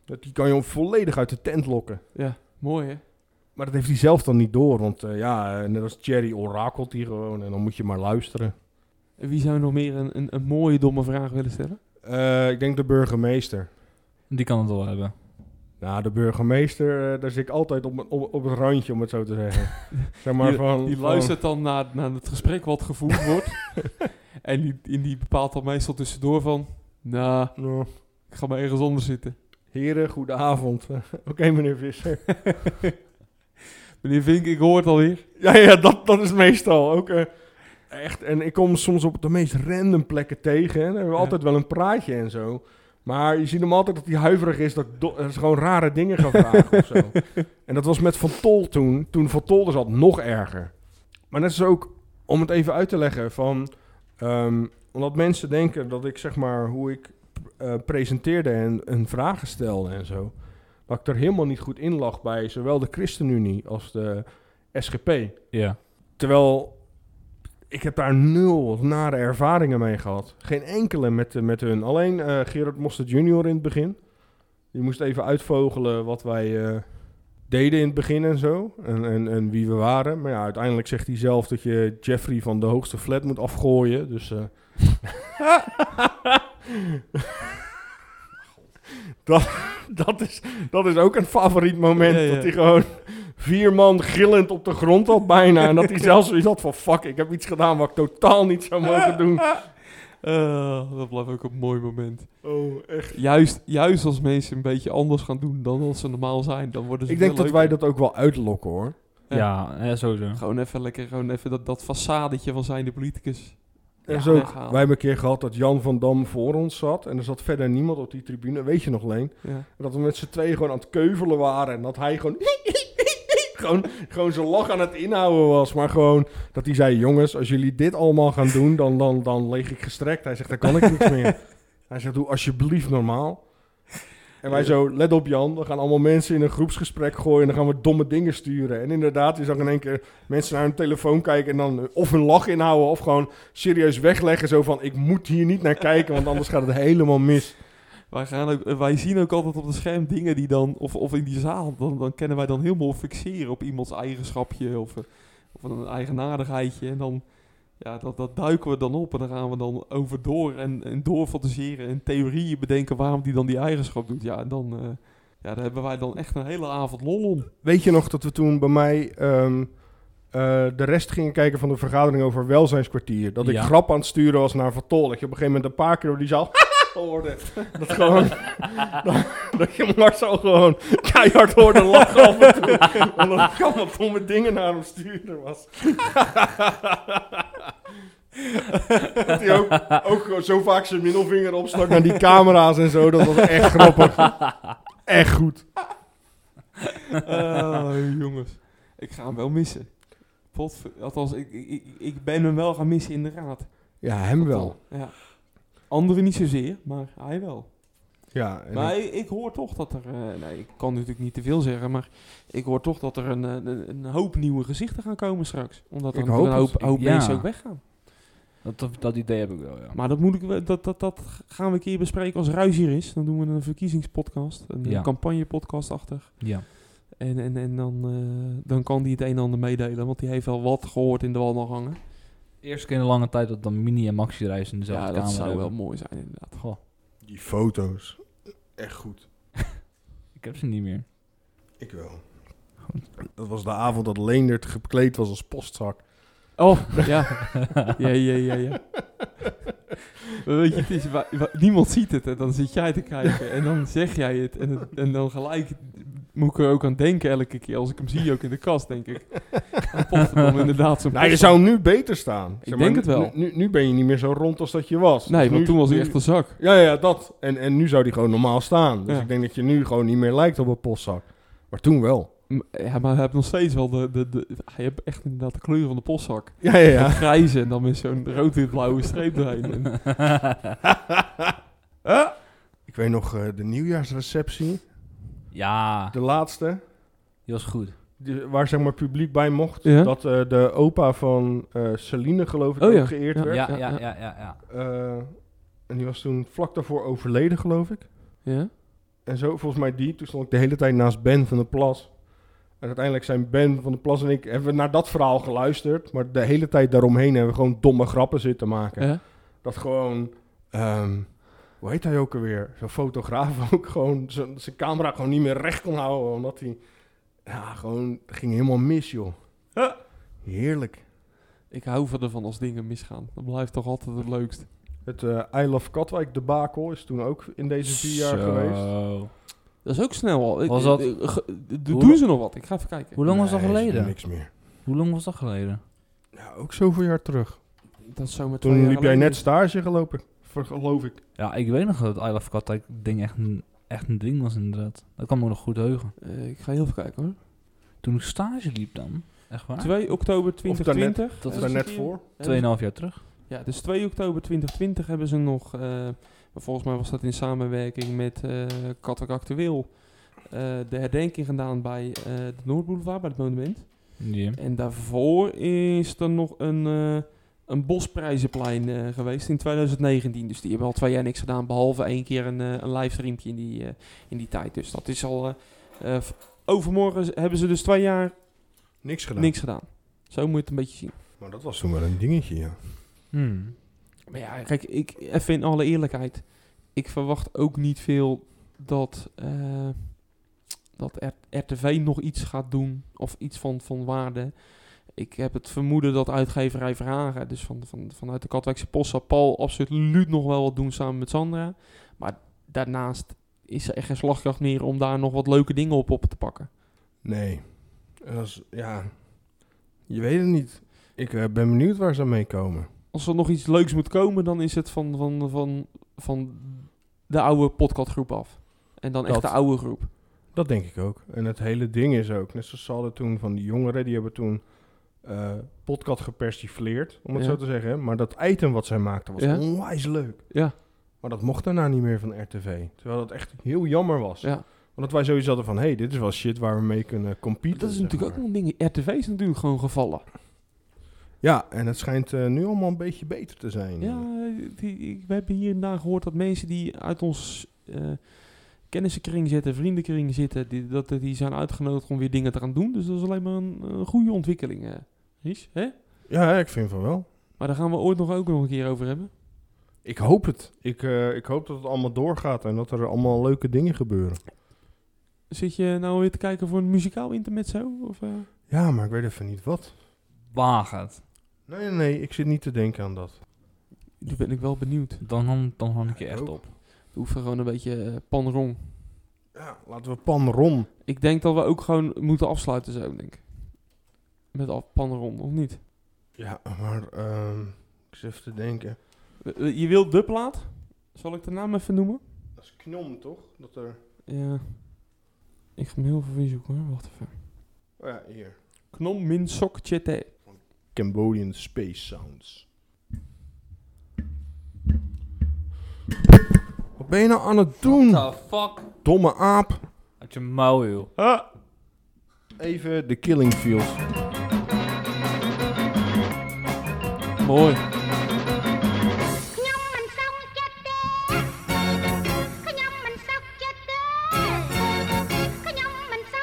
Speaker 1: Dat, die kan je volledig uit de tent lokken.
Speaker 2: Ja, mooi hè?
Speaker 1: Maar dat heeft hij zelf dan niet door. Want eh, ja, eh, net als Thierry orakelt hij gewoon. En dan moet je maar luisteren.
Speaker 2: En Wie zou nog meer een, een, een mooie domme vraag willen stellen?
Speaker 1: Eh, ik denk de burgemeester.
Speaker 3: Die kan het wel hebben.
Speaker 1: Nou, de burgemeester, eh, daar zit ik altijd op, mijn- op, op het randje, om het zo te zeggen. zeg maar
Speaker 2: die,
Speaker 1: van,
Speaker 2: die
Speaker 1: van-
Speaker 2: luistert dan naar, naar het gesprek wat gevoerd wordt. en die, en die bepaalt dan meestal tussendoor van... Nou, ik ga maar ergens onder zitten.
Speaker 1: Heren, goedenavond. Oké, meneer Visser.
Speaker 2: meneer Vink, ik hoor het alweer.
Speaker 1: Ja, ja dat, dat is meestal ook eh, echt. En ik kom soms op de meest random plekken tegen. Hè. Dan hebben we altijd wel een praatje en zo. Maar je ziet hem altijd dat hij huiverig is. Dat, ik do- dat ze gewoon rare dingen gaan vragen of zo. En dat was met Van Tol toen. Toen Van Tol dus al nog erger. Maar dat is ook, om het even uit te leggen, van... ehm, omdat mensen denken dat ik, zeg maar, hoe ik eh, presenteerde en, en vragen stelde en zo... dat ik er helemaal niet goed in lag bij zowel de ChristenUnie als de SGP.
Speaker 3: Ja.
Speaker 1: Terwijl ik heb daar nul nare ervaringen mee gehad. Geen enkele met, eh, met hun. Alleen eh, Gerard Mostert junior in het begin. Die moest even uitvogelen wat wij eh, deden in het begin en zo. En, en, en wie we waren. Maar ja, uiteindelijk zegt hij zelf dat je Jeffrey van de hoogste flat moet afgooien. Dus... eh, dat, dat, is, dat is ook een favoriet moment.
Speaker 2: Ja, ja.
Speaker 1: Dat hij gewoon vier man gillend op de grond had bijna. En dat hij zelfs zoiets had van... Fuck, ik heb iets gedaan wat ik totaal niet zou mogen doen.
Speaker 2: Eh, dat blijft ook een mooi moment.
Speaker 1: Oh, echt.
Speaker 2: Juist, juist als mensen een beetje anders gaan doen dan als ze normaal zijn, dan worden ze
Speaker 1: Ik denk
Speaker 2: veel
Speaker 1: dat wij
Speaker 2: leuker.
Speaker 1: dat ook wel uitlokken, hoor.
Speaker 3: Ja, ja, sowieso.
Speaker 2: Gewoon even lekker, gewoon even dat, dat facadetje van zijn de politicus.
Speaker 1: En
Speaker 2: Ja,
Speaker 1: zo, wij
Speaker 2: weghalen.
Speaker 1: hebben een keer gehad dat Jan van Dam voor ons zat. En er zat verder niemand op die tribune. Weet je nog, Leen?
Speaker 2: Ja.
Speaker 1: En dat we met z'n tweeën gewoon aan het keuvelen waren. En dat hij gewoon... gewoon, gewoon zijn lach aan het inhouden was. Maar gewoon dat hij zei... Jongens, als jullie dit allemaal gaan doen, dan, dan, dan leeg ik gestrekt. Hij zegt, dan kan ik niks meer. Hij zegt, doe alsjeblieft normaal. En wij zo, let op Jan, we gaan allemaal mensen in een groepsgesprek gooien... en dan gaan we domme dingen sturen. En inderdaad, je zag in één keer mensen naar hun telefoon kijken... en dan eh, of hun lach inhouden of gewoon serieus wegleggen... zo van, ik moet hier niet naar kijken, want anders gaat het helemaal mis.
Speaker 2: Wij, gaan ook, eh, wij zien ook altijd op het scherm dingen die dan, of, of in die zaal, dan, dan kennen wij dan helemaal fixeren op iemands eigenschapje of, eh, of een eigenaardigheidje. En dan, ja, dat, dat duiken we dan op en dan gaan we dan over door en, en doorfantaseren en theorieën bedenken waarom die dan die eigenschap doet. Ja, en dan, eh, ja, daar hebben wij dan echt een hele avond lol om.
Speaker 1: Weet je nog dat we toen bij mij ehm, eh, de rest gingen kijken van de vergadering over welzijnskwartier? Dat ik
Speaker 3: Ja.
Speaker 1: grap aan het sturen was naar Vertol. Dat je op een gegeven moment een paar keer door die zaal hoorde. Dat gewoon... dat, dat je Marcel gewoon keihard hoorde lachen af en toe. Omdat ik allemaal domme dingen naar hem stuurde was. dat hij ook, ook gewoon zo vaak zijn middelvinger opstak naar die camera's en zo. Dat was echt grappig. Echt goed.
Speaker 2: Oh, jongens. Ik ga hem wel missen. Potver- Althans, ik, ik, ik- ik ben hem wel gaan missen, inderdaad.
Speaker 1: Ja, hem wel.
Speaker 2: Ja. Anderen niet zozeer, maar hij wel.
Speaker 1: Ja, en
Speaker 2: maar
Speaker 1: ik-
Speaker 2: ik, ik hoor toch dat er... eh, nee, ik kan natuurlijk niet te veel zeggen, maar ik hoor toch dat er een, eh, een, een hoop nieuwe gezichten gaan komen straks. Omdat er
Speaker 1: Ik
Speaker 2: natuurlijk
Speaker 1: hoop
Speaker 2: een hoop,
Speaker 1: het.
Speaker 2: hoop
Speaker 3: Ja.
Speaker 2: mensen ook weggaan.
Speaker 3: Dat, dat idee heb ik wel, ja.
Speaker 2: Maar dat, moet ik, wel- dat, dat, dat gaan we een keer bespreken als Ruis hier is. Dan doen we een verkiezingspodcast, een
Speaker 3: Ja.
Speaker 2: campagne campagnepodcast-achtig.
Speaker 3: Ja.
Speaker 2: En, en, en dan, eh, dan kan die het een en ander meedelen, want die heeft al wat gehoord in de wandelgangen.
Speaker 3: Eerst keer in een lange tijd dat dan Mini en Maxi reis in dezelfde
Speaker 2: Ja,
Speaker 3: kamer
Speaker 2: dat zou
Speaker 3: hebben.
Speaker 2: wel mooi zijn inderdaad.
Speaker 3: Goh,
Speaker 1: Die foto's. Echt goed.
Speaker 3: ik heb ze niet meer.
Speaker 1: Ik wel. Dat was de avond dat Leendert gekleed was als postzak.
Speaker 2: Oh, ja. ja, ja, ja, ja. Maar weet je, het is, wa- wa- niemand ziet het en dan zit jij te kijken en dan zeg jij het en, het- en dan gelijk moet ik er ook aan denken elke keer als ik hem zie, ook in de kast, denk ik. Dan inderdaad zo'n
Speaker 1: Nou, je
Speaker 2: postzak.
Speaker 1: zou nu beter staan. Zeg
Speaker 2: dus- denk het
Speaker 1: nu-
Speaker 2: wel.
Speaker 1: Nu, nu ben je niet meer zo rond als dat je was.
Speaker 2: Nee,
Speaker 1: Dus
Speaker 2: want
Speaker 1: nu-
Speaker 2: toen was hij
Speaker 1: nu-
Speaker 2: echt een zak.
Speaker 1: Ja, ja, dat. En, en nu zou die gewoon normaal staan. Dus
Speaker 2: Ja.
Speaker 1: ik denk dat je nu gewoon niet meer lijkt op een postzak. Maar toen wel.
Speaker 2: M- Ja, maar hij heeft nog steeds wel de, de, de... Hij heeft echt inderdaad de kleur van de postzak.
Speaker 1: Ja, ja, ja.
Speaker 2: Het grijze en dan met zo'n rood-wit-blauwe streep erheen. En-
Speaker 1: Ik weet nog eh, de nieuwjaarsreceptie.
Speaker 3: Ja,
Speaker 1: De laatste.
Speaker 3: die was goed.
Speaker 1: die- waar zeg maar publiek bij mocht.
Speaker 2: Ja.
Speaker 1: Dat eh, de opa van eh Celine geloof ik
Speaker 2: Oh,
Speaker 1: ook
Speaker 2: ja.
Speaker 1: geëerd
Speaker 2: Ja.
Speaker 1: werd.
Speaker 3: Ja, ja,
Speaker 2: ja.
Speaker 3: ja, ja, ja.
Speaker 1: Eh, En die was toen vlak daarvoor overleden, geloof ik.
Speaker 2: Ja.
Speaker 1: En zo, volgens mij die. Toen stond ik de hele tijd naast Ben van de Plas. En uiteindelijk zijn Ben van de Plas en ik... hebben we naar dat verhaal geluisterd. Maar de hele tijd daaromheen hebben we gewoon domme grappen zitten maken.
Speaker 2: Ja.
Speaker 1: Dat gewoon... ehm, hoe heet hij ook alweer? Zo'n fotograaf ook gewoon... zo- zijn camera gewoon niet meer recht kon houden. Omdat hij... Ja, gewoon... ging helemaal mis, joh. Heerlijk.
Speaker 2: Ik hou van ervan als dingen misgaan. Dat blijft toch altijd het leukst.
Speaker 1: Het eh I Love Katwijk debakel is toen ook in deze vier jaar
Speaker 2: Zo.
Speaker 1: geweest.
Speaker 2: Dat is ook snel al. Ik-
Speaker 3: Was dat-
Speaker 2: ik- ik- ge-
Speaker 3: Hoe
Speaker 2: doen ze
Speaker 3: lang-
Speaker 2: nog wat? Ik ga even kijken.
Speaker 3: Hoe lang was dat
Speaker 1: Nee, is
Speaker 3: geleden?
Speaker 1: niks meer.
Speaker 3: Hoe lang was dat geleden?
Speaker 1: Ja, Nou, ook zoveel jaar terug.
Speaker 2: Dat zou maar twee
Speaker 1: Toen
Speaker 2: jaar
Speaker 1: liep jij
Speaker 2: geleden
Speaker 1: net stage gelopen, ver- geloof ik.
Speaker 3: Ja, ik weet nog dat het I Love Katwijk ding echt een, echt een ding was inderdaad. Dat kan me nog goed heugen.
Speaker 2: Eh, ik ga heel even kijken hoor.
Speaker 3: Toen ik stage liep dan. Echt waar?
Speaker 2: 2 oktober
Speaker 1: daarnet.
Speaker 2: 2020.
Speaker 1: Dat
Speaker 2: Hebben
Speaker 1: is
Speaker 2: ze
Speaker 1: daarnet
Speaker 2: een keer-
Speaker 1: voor.
Speaker 2: hebben ze-
Speaker 3: Tweeënhalf jaar terug.
Speaker 2: dus- Ja, dus 2 oktober 2020 hebben ze nog, eh, maar volgens mij was dat in samenwerking met eh Katwijk Actueel, eh, de herdenking gedaan bij eh, de Noordboulevard, bij het monument.
Speaker 3: Ja.
Speaker 2: En daarvoor is er nog een, eh, een bosprijzenplein eh, geweest in 2019. Dus die hebben al twee jaar niks gedaan, behalve één keer een, eh een livestreampje in die, eh, in die tijd. Dus dat is al... eh, eh, v- overmorgen z- hebben ze dus twee jaar
Speaker 1: Niks gedaan.
Speaker 2: niks gedaan. Zo moet je het een beetje zien.
Speaker 1: Maar dat was toen wel een dingetje, ja.
Speaker 3: Hmm.
Speaker 2: Maar ja, kijk, ik, even in alle eerlijkheid. Ik verwacht ook niet veel dat, eh, dat R- RTV nog iets gaat doen. Of iets van, van waarde. Ik heb het vermoeden dat uitgeverij Vragen, dus van, van, vanuit de Katwijkse Post, zal Paul absoluut nog wel wat doen samen met Sandra. Maar daarnaast is er echt geen slagkracht meer om daar nog wat leuke dingen op op te pakken.
Speaker 1: Nee. En Dat is, ja, je weet het niet. Ik eh, ben benieuwd waar ze aan meekomen.
Speaker 2: Als er nog iets leuks moet komen, dan is het van, van, van, van de oude podcastgroep af. En dan echt
Speaker 1: Dat.
Speaker 2: de oude groep.
Speaker 1: Dat denk ik ook. En het hele ding is ook, net zoals ze hadden toen van die jongeren, die hebben toen eh podcast gepersifleerd, om het
Speaker 2: Ja.
Speaker 1: zo te zeggen. hè. Maar dat item wat zij maakten was
Speaker 2: Ja.
Speaker 1: onwijs leuk.
Speaker 2: Ja.
Speaker 1: Maar dat mocht daarna niet meer van RTV. Terwijl dat echt heel jammer was.
Speaker 2: Ja.
Speaker 1: Omdat wij sowieso hadden van, hé, hey, dit is wel shit waar we mee kunnen competen.
Speaker 2: Dat is
Speaker 1: zeg
Speaker 2: natuurlijk ook
Speaker 1: maar.
Speaker 2: nog een ding. RTV is natuurlijk gewoon gevallen.
Speaker 1: Ja, en het schijnt eh, nu allemaal een beetje beter te zijn.
Speaker 2: Ja, eh, die- ik- we hebben hier en daar gehoord dat mensen die uit ons eh kennissenkring zitten, vriendenkring zitten, die, dat, die zijn uitgenodigd om weer dingen te gaan doen. Dus dat is alleen maar een, een goede ontwikkeling, eh Ries. Hè?
Speaker 1: Ja, ik vind van wel.
Speaker 2: Maar daar gaan we ooit nog ook nog een keer over hebben.
Speaker 1: Ik hoop het. Ik, eh, ik hoop dat het allemaal doorgaat en dat er allemaal leuke dingen gebeuren.
Speaker 2: Zit je nou weer te kijken voor een muzikaal intermezzo? Of, eh?
Speaker 1: Ja, maar ik weet even niet wat.
Speaker 3: Waag het.
Speaker 1: Nee, nee, nee, ik zit niet te denken aan dat.
Speaker 2: Nu ben ik wel benieuwd.
Speaker 3: Dan, hang- dan hang ik je echt op.
Speaker 2: We hoeven gewoon een beetje eh, panrong.
Speaker 1: Ja, laten we panron.
Speaker 2: Ik denk dat we ook gewoon moeten afsluiten zo, denk ik. Met af- panrong, of niet?
Speaker 1: Ja, maar ehm, ik zit even te denken.
Speaker 2: Eh, Je wilt de plaat? Zal ik de naam even noemen?
Speaker 1: Dat is knom, toch? Dat er...
Speaker 2: Ja. Ik ga hem heel veel weer zoeken hoor. Wacht even.
Speaker 1: Oh ja, hier.
Speaker 2: Knom Min Sok Chete.
Speaker 1: Cambodian Space Sounds. Wat ben je nou aan het doen?
Speaker 3: The fuck?
Speaker 1: Domme aap.
Speaker 3: Uit je mouw, joh.
Speaker 1: Even de killing feels.
Speaker 2: Mooi.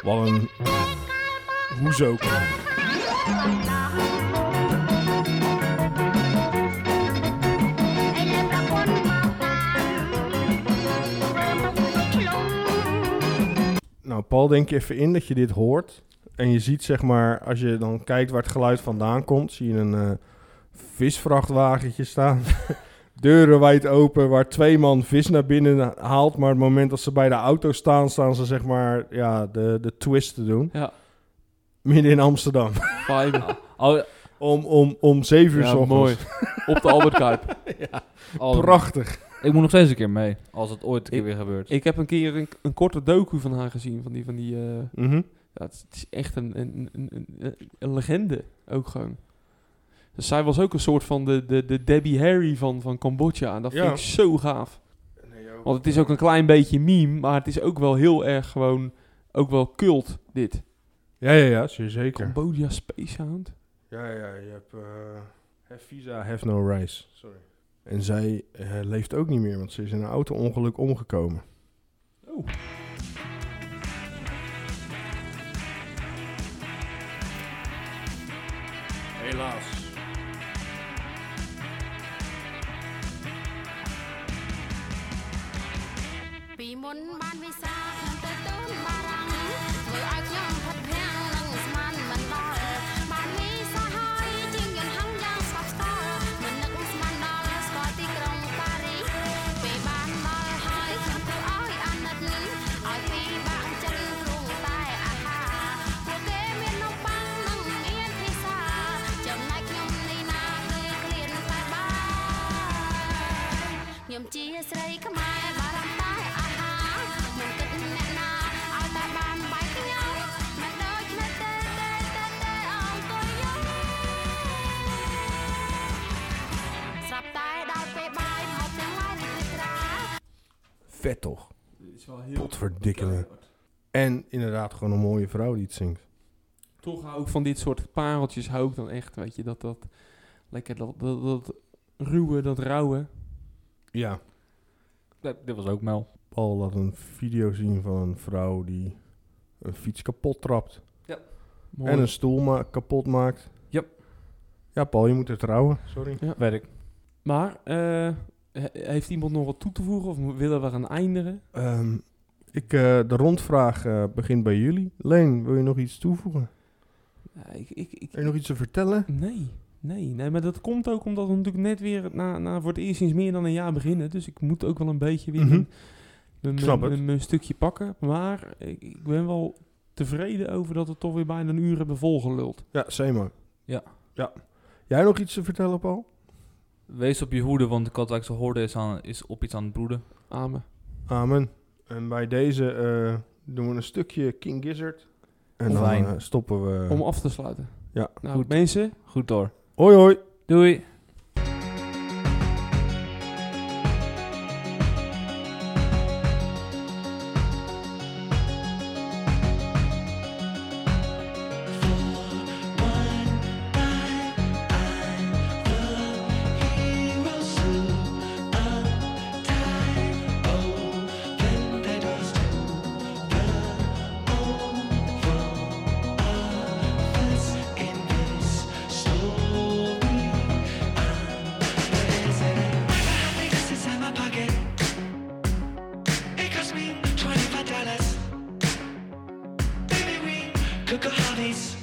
Speaker 1: Wat een... Hoezo? Nou, Paul, denk je even in dat je dit hoort. En je ziet, zeg maar, als je dan kijkt waar het geluid vandaan komt, zie je een eh, visvrachtwagentje staan. Deuren wijd open, waar twee man vis naar binnen haalt. Maar het moment dat ze bij de auto staan, staan ze, zeg maar, ja, de, de twist te doen.
Speaker 2: Ja.
Speaker 1: Midden in Amsterdam.
Speaker 2: Vibe.
Speaker 3: Oh,
Speaker 1: Om, om, om zeven uur
Speaker 2: Ja,
Speaker 1: s ochtends.
Speaker 2: mooi. Op de Albert Kuip.
Speaker 3: al-
Speaker 1: Prachtig.
Speaker 3: Ik moet nog steeds een keer mee. Als het ooit een keer weer gebeurt.
Speaker 2: Ik heb een keer een, een korte docu van haar gezien. Van die, van die, eh,
Speaker 1: Mhm.
Speaker 2: ja, het, is, het is echt een, een, een, een, een legende. Ook gewoon. Dus zij was ook een soort van de, de, de Debbie Harry van, van Cambodja. En dat
Speaker 1: Ja.
Speaker 2: vind ik zo gaaf. Want het is ook een klein beetje meme. Maar het is ook wel heel erg gewoon... Ook wel cult, dit.
Speaker 1: Ja, ja, ja, zeer zeker.
Speaker 2: Cambodia Space Hound.
Speaker 1: Ja, ja, je hebt... have visa, have no rice. eh, Sorry. En zij eh, leeft ook niet meer, want ze is in een auto-ongeluk omgekomen.
Speaker 12: Helaas.
Speaker 11: ពីមុនបានវិសាខ្ញុំទៅទូនបារាំងធ្វើឲ្យខ្ញុំផិតភាំងនឹងស្មានមិនដល់បានមីសាហើយជាងយន្តហង្សយ៉ាងស្បស្បមិននឹកស្មានដល់ស្គាល់ទីក្រុងប៉ារីសពេលបានដល់ហើយខ្ញុំទៅឲ្យអាណិតឲ្យពីបាក់ចិនព្រោះតែអាហារពួកគេមាននំប៉័ងនិងមានភីសាចំណែកខ្ញុំនេះណាគេគ្រានតែបាន ខ្ញុំជាស្រីខ្មែរបារម្ភតែអាហារមិនគិតអ្នកណាឲ្យតែបានបាយខ្ញុំមិនដូចគ្នាទេទេទេទេអងគុយយើងស្រាប់តែដល់ពេលបាយមកទាំងឡាយនេះត្រា
Speaker 1: Vet toch?
Speaker 2: is wel heel...
Speaker 1: Potverdikke. En inderdaad gewoon een mooie vrouw die het zingt.
Speaker 2: Toch hou ik van dit soort pareltjes, hou ik dan echt, weet je, dat dat... Lekker dat, dat, dat ruwe, dat rauwe.
Speaker 1: Ja.
Speaker 3: dit was ook Mel.
Speaker 1: Paul laat een video zien van een vrouw die een fiets kapot trapt.
Speaker 2: Ja.
Speaker 3: Mooi.
Speaker 1: En een stoel ma- kapot maakt.
Speaker 2: Ja.
Speaker 1: Ja, Paul, je moet er trouwen. Sorry.
Speaker 2: Ja.
Speaker 3: Weet ik.
Speaker 2: Maar, eh, he- heeft iemand nog wat toe te voegen of mo- willen we gaan eindigen?
Speaker 1: Ehm, ik, eh, de rondvraag eh, begint bij jullie. Leen, wil je nog iets toevoegen?
Speaker 2: Ja, ik, ik, ik,
Speaker 1: Heb je nog iets te vertellen?
Speaker 2: Nee, nee, nee, maar dat komt ook omdat we natuurlijk net weer na, na voor het eerst sinds meer dan een jaar beginnen. Dus ik moet ook wel een beetje weer
Speaker 1: Mhm.
Speaker 2: mijn- mijn-
Speaker 1: Ik snap
Speaker 2: mijn-
Speaker 1: het.
Speaker 2: mijn stukje pakken. Maar ik, ik ben wel tevreden over dat we toch weer bijna een uur hebben volgeluld.
Speaker 1: Ja, Seymour.
Speaker 3: Ja.
Speaker 1: ja. Jij nog iets te vertellen, Paul?
Speaker 3: Wees op je hoede, want de Katwijkse hoorde is, aan, is op iets aan het broeden.
Speaker 2: Amen.
Speaker 1: Amen. En bij deze eh, doen we een stukje King Gizzard. En dan
Speaker 3: Fijn.
Speaker 1: eh, stoppen we.
Speaker 2: Om af te sluiten.
Speaker 1: Ja.
Speaker 2: Nou, mensen,
Speaker 3: Goed door.
Speaker 1: Hoi hoi.
Speaker 3: Doei.
Speaker 13: Cook a hobbies.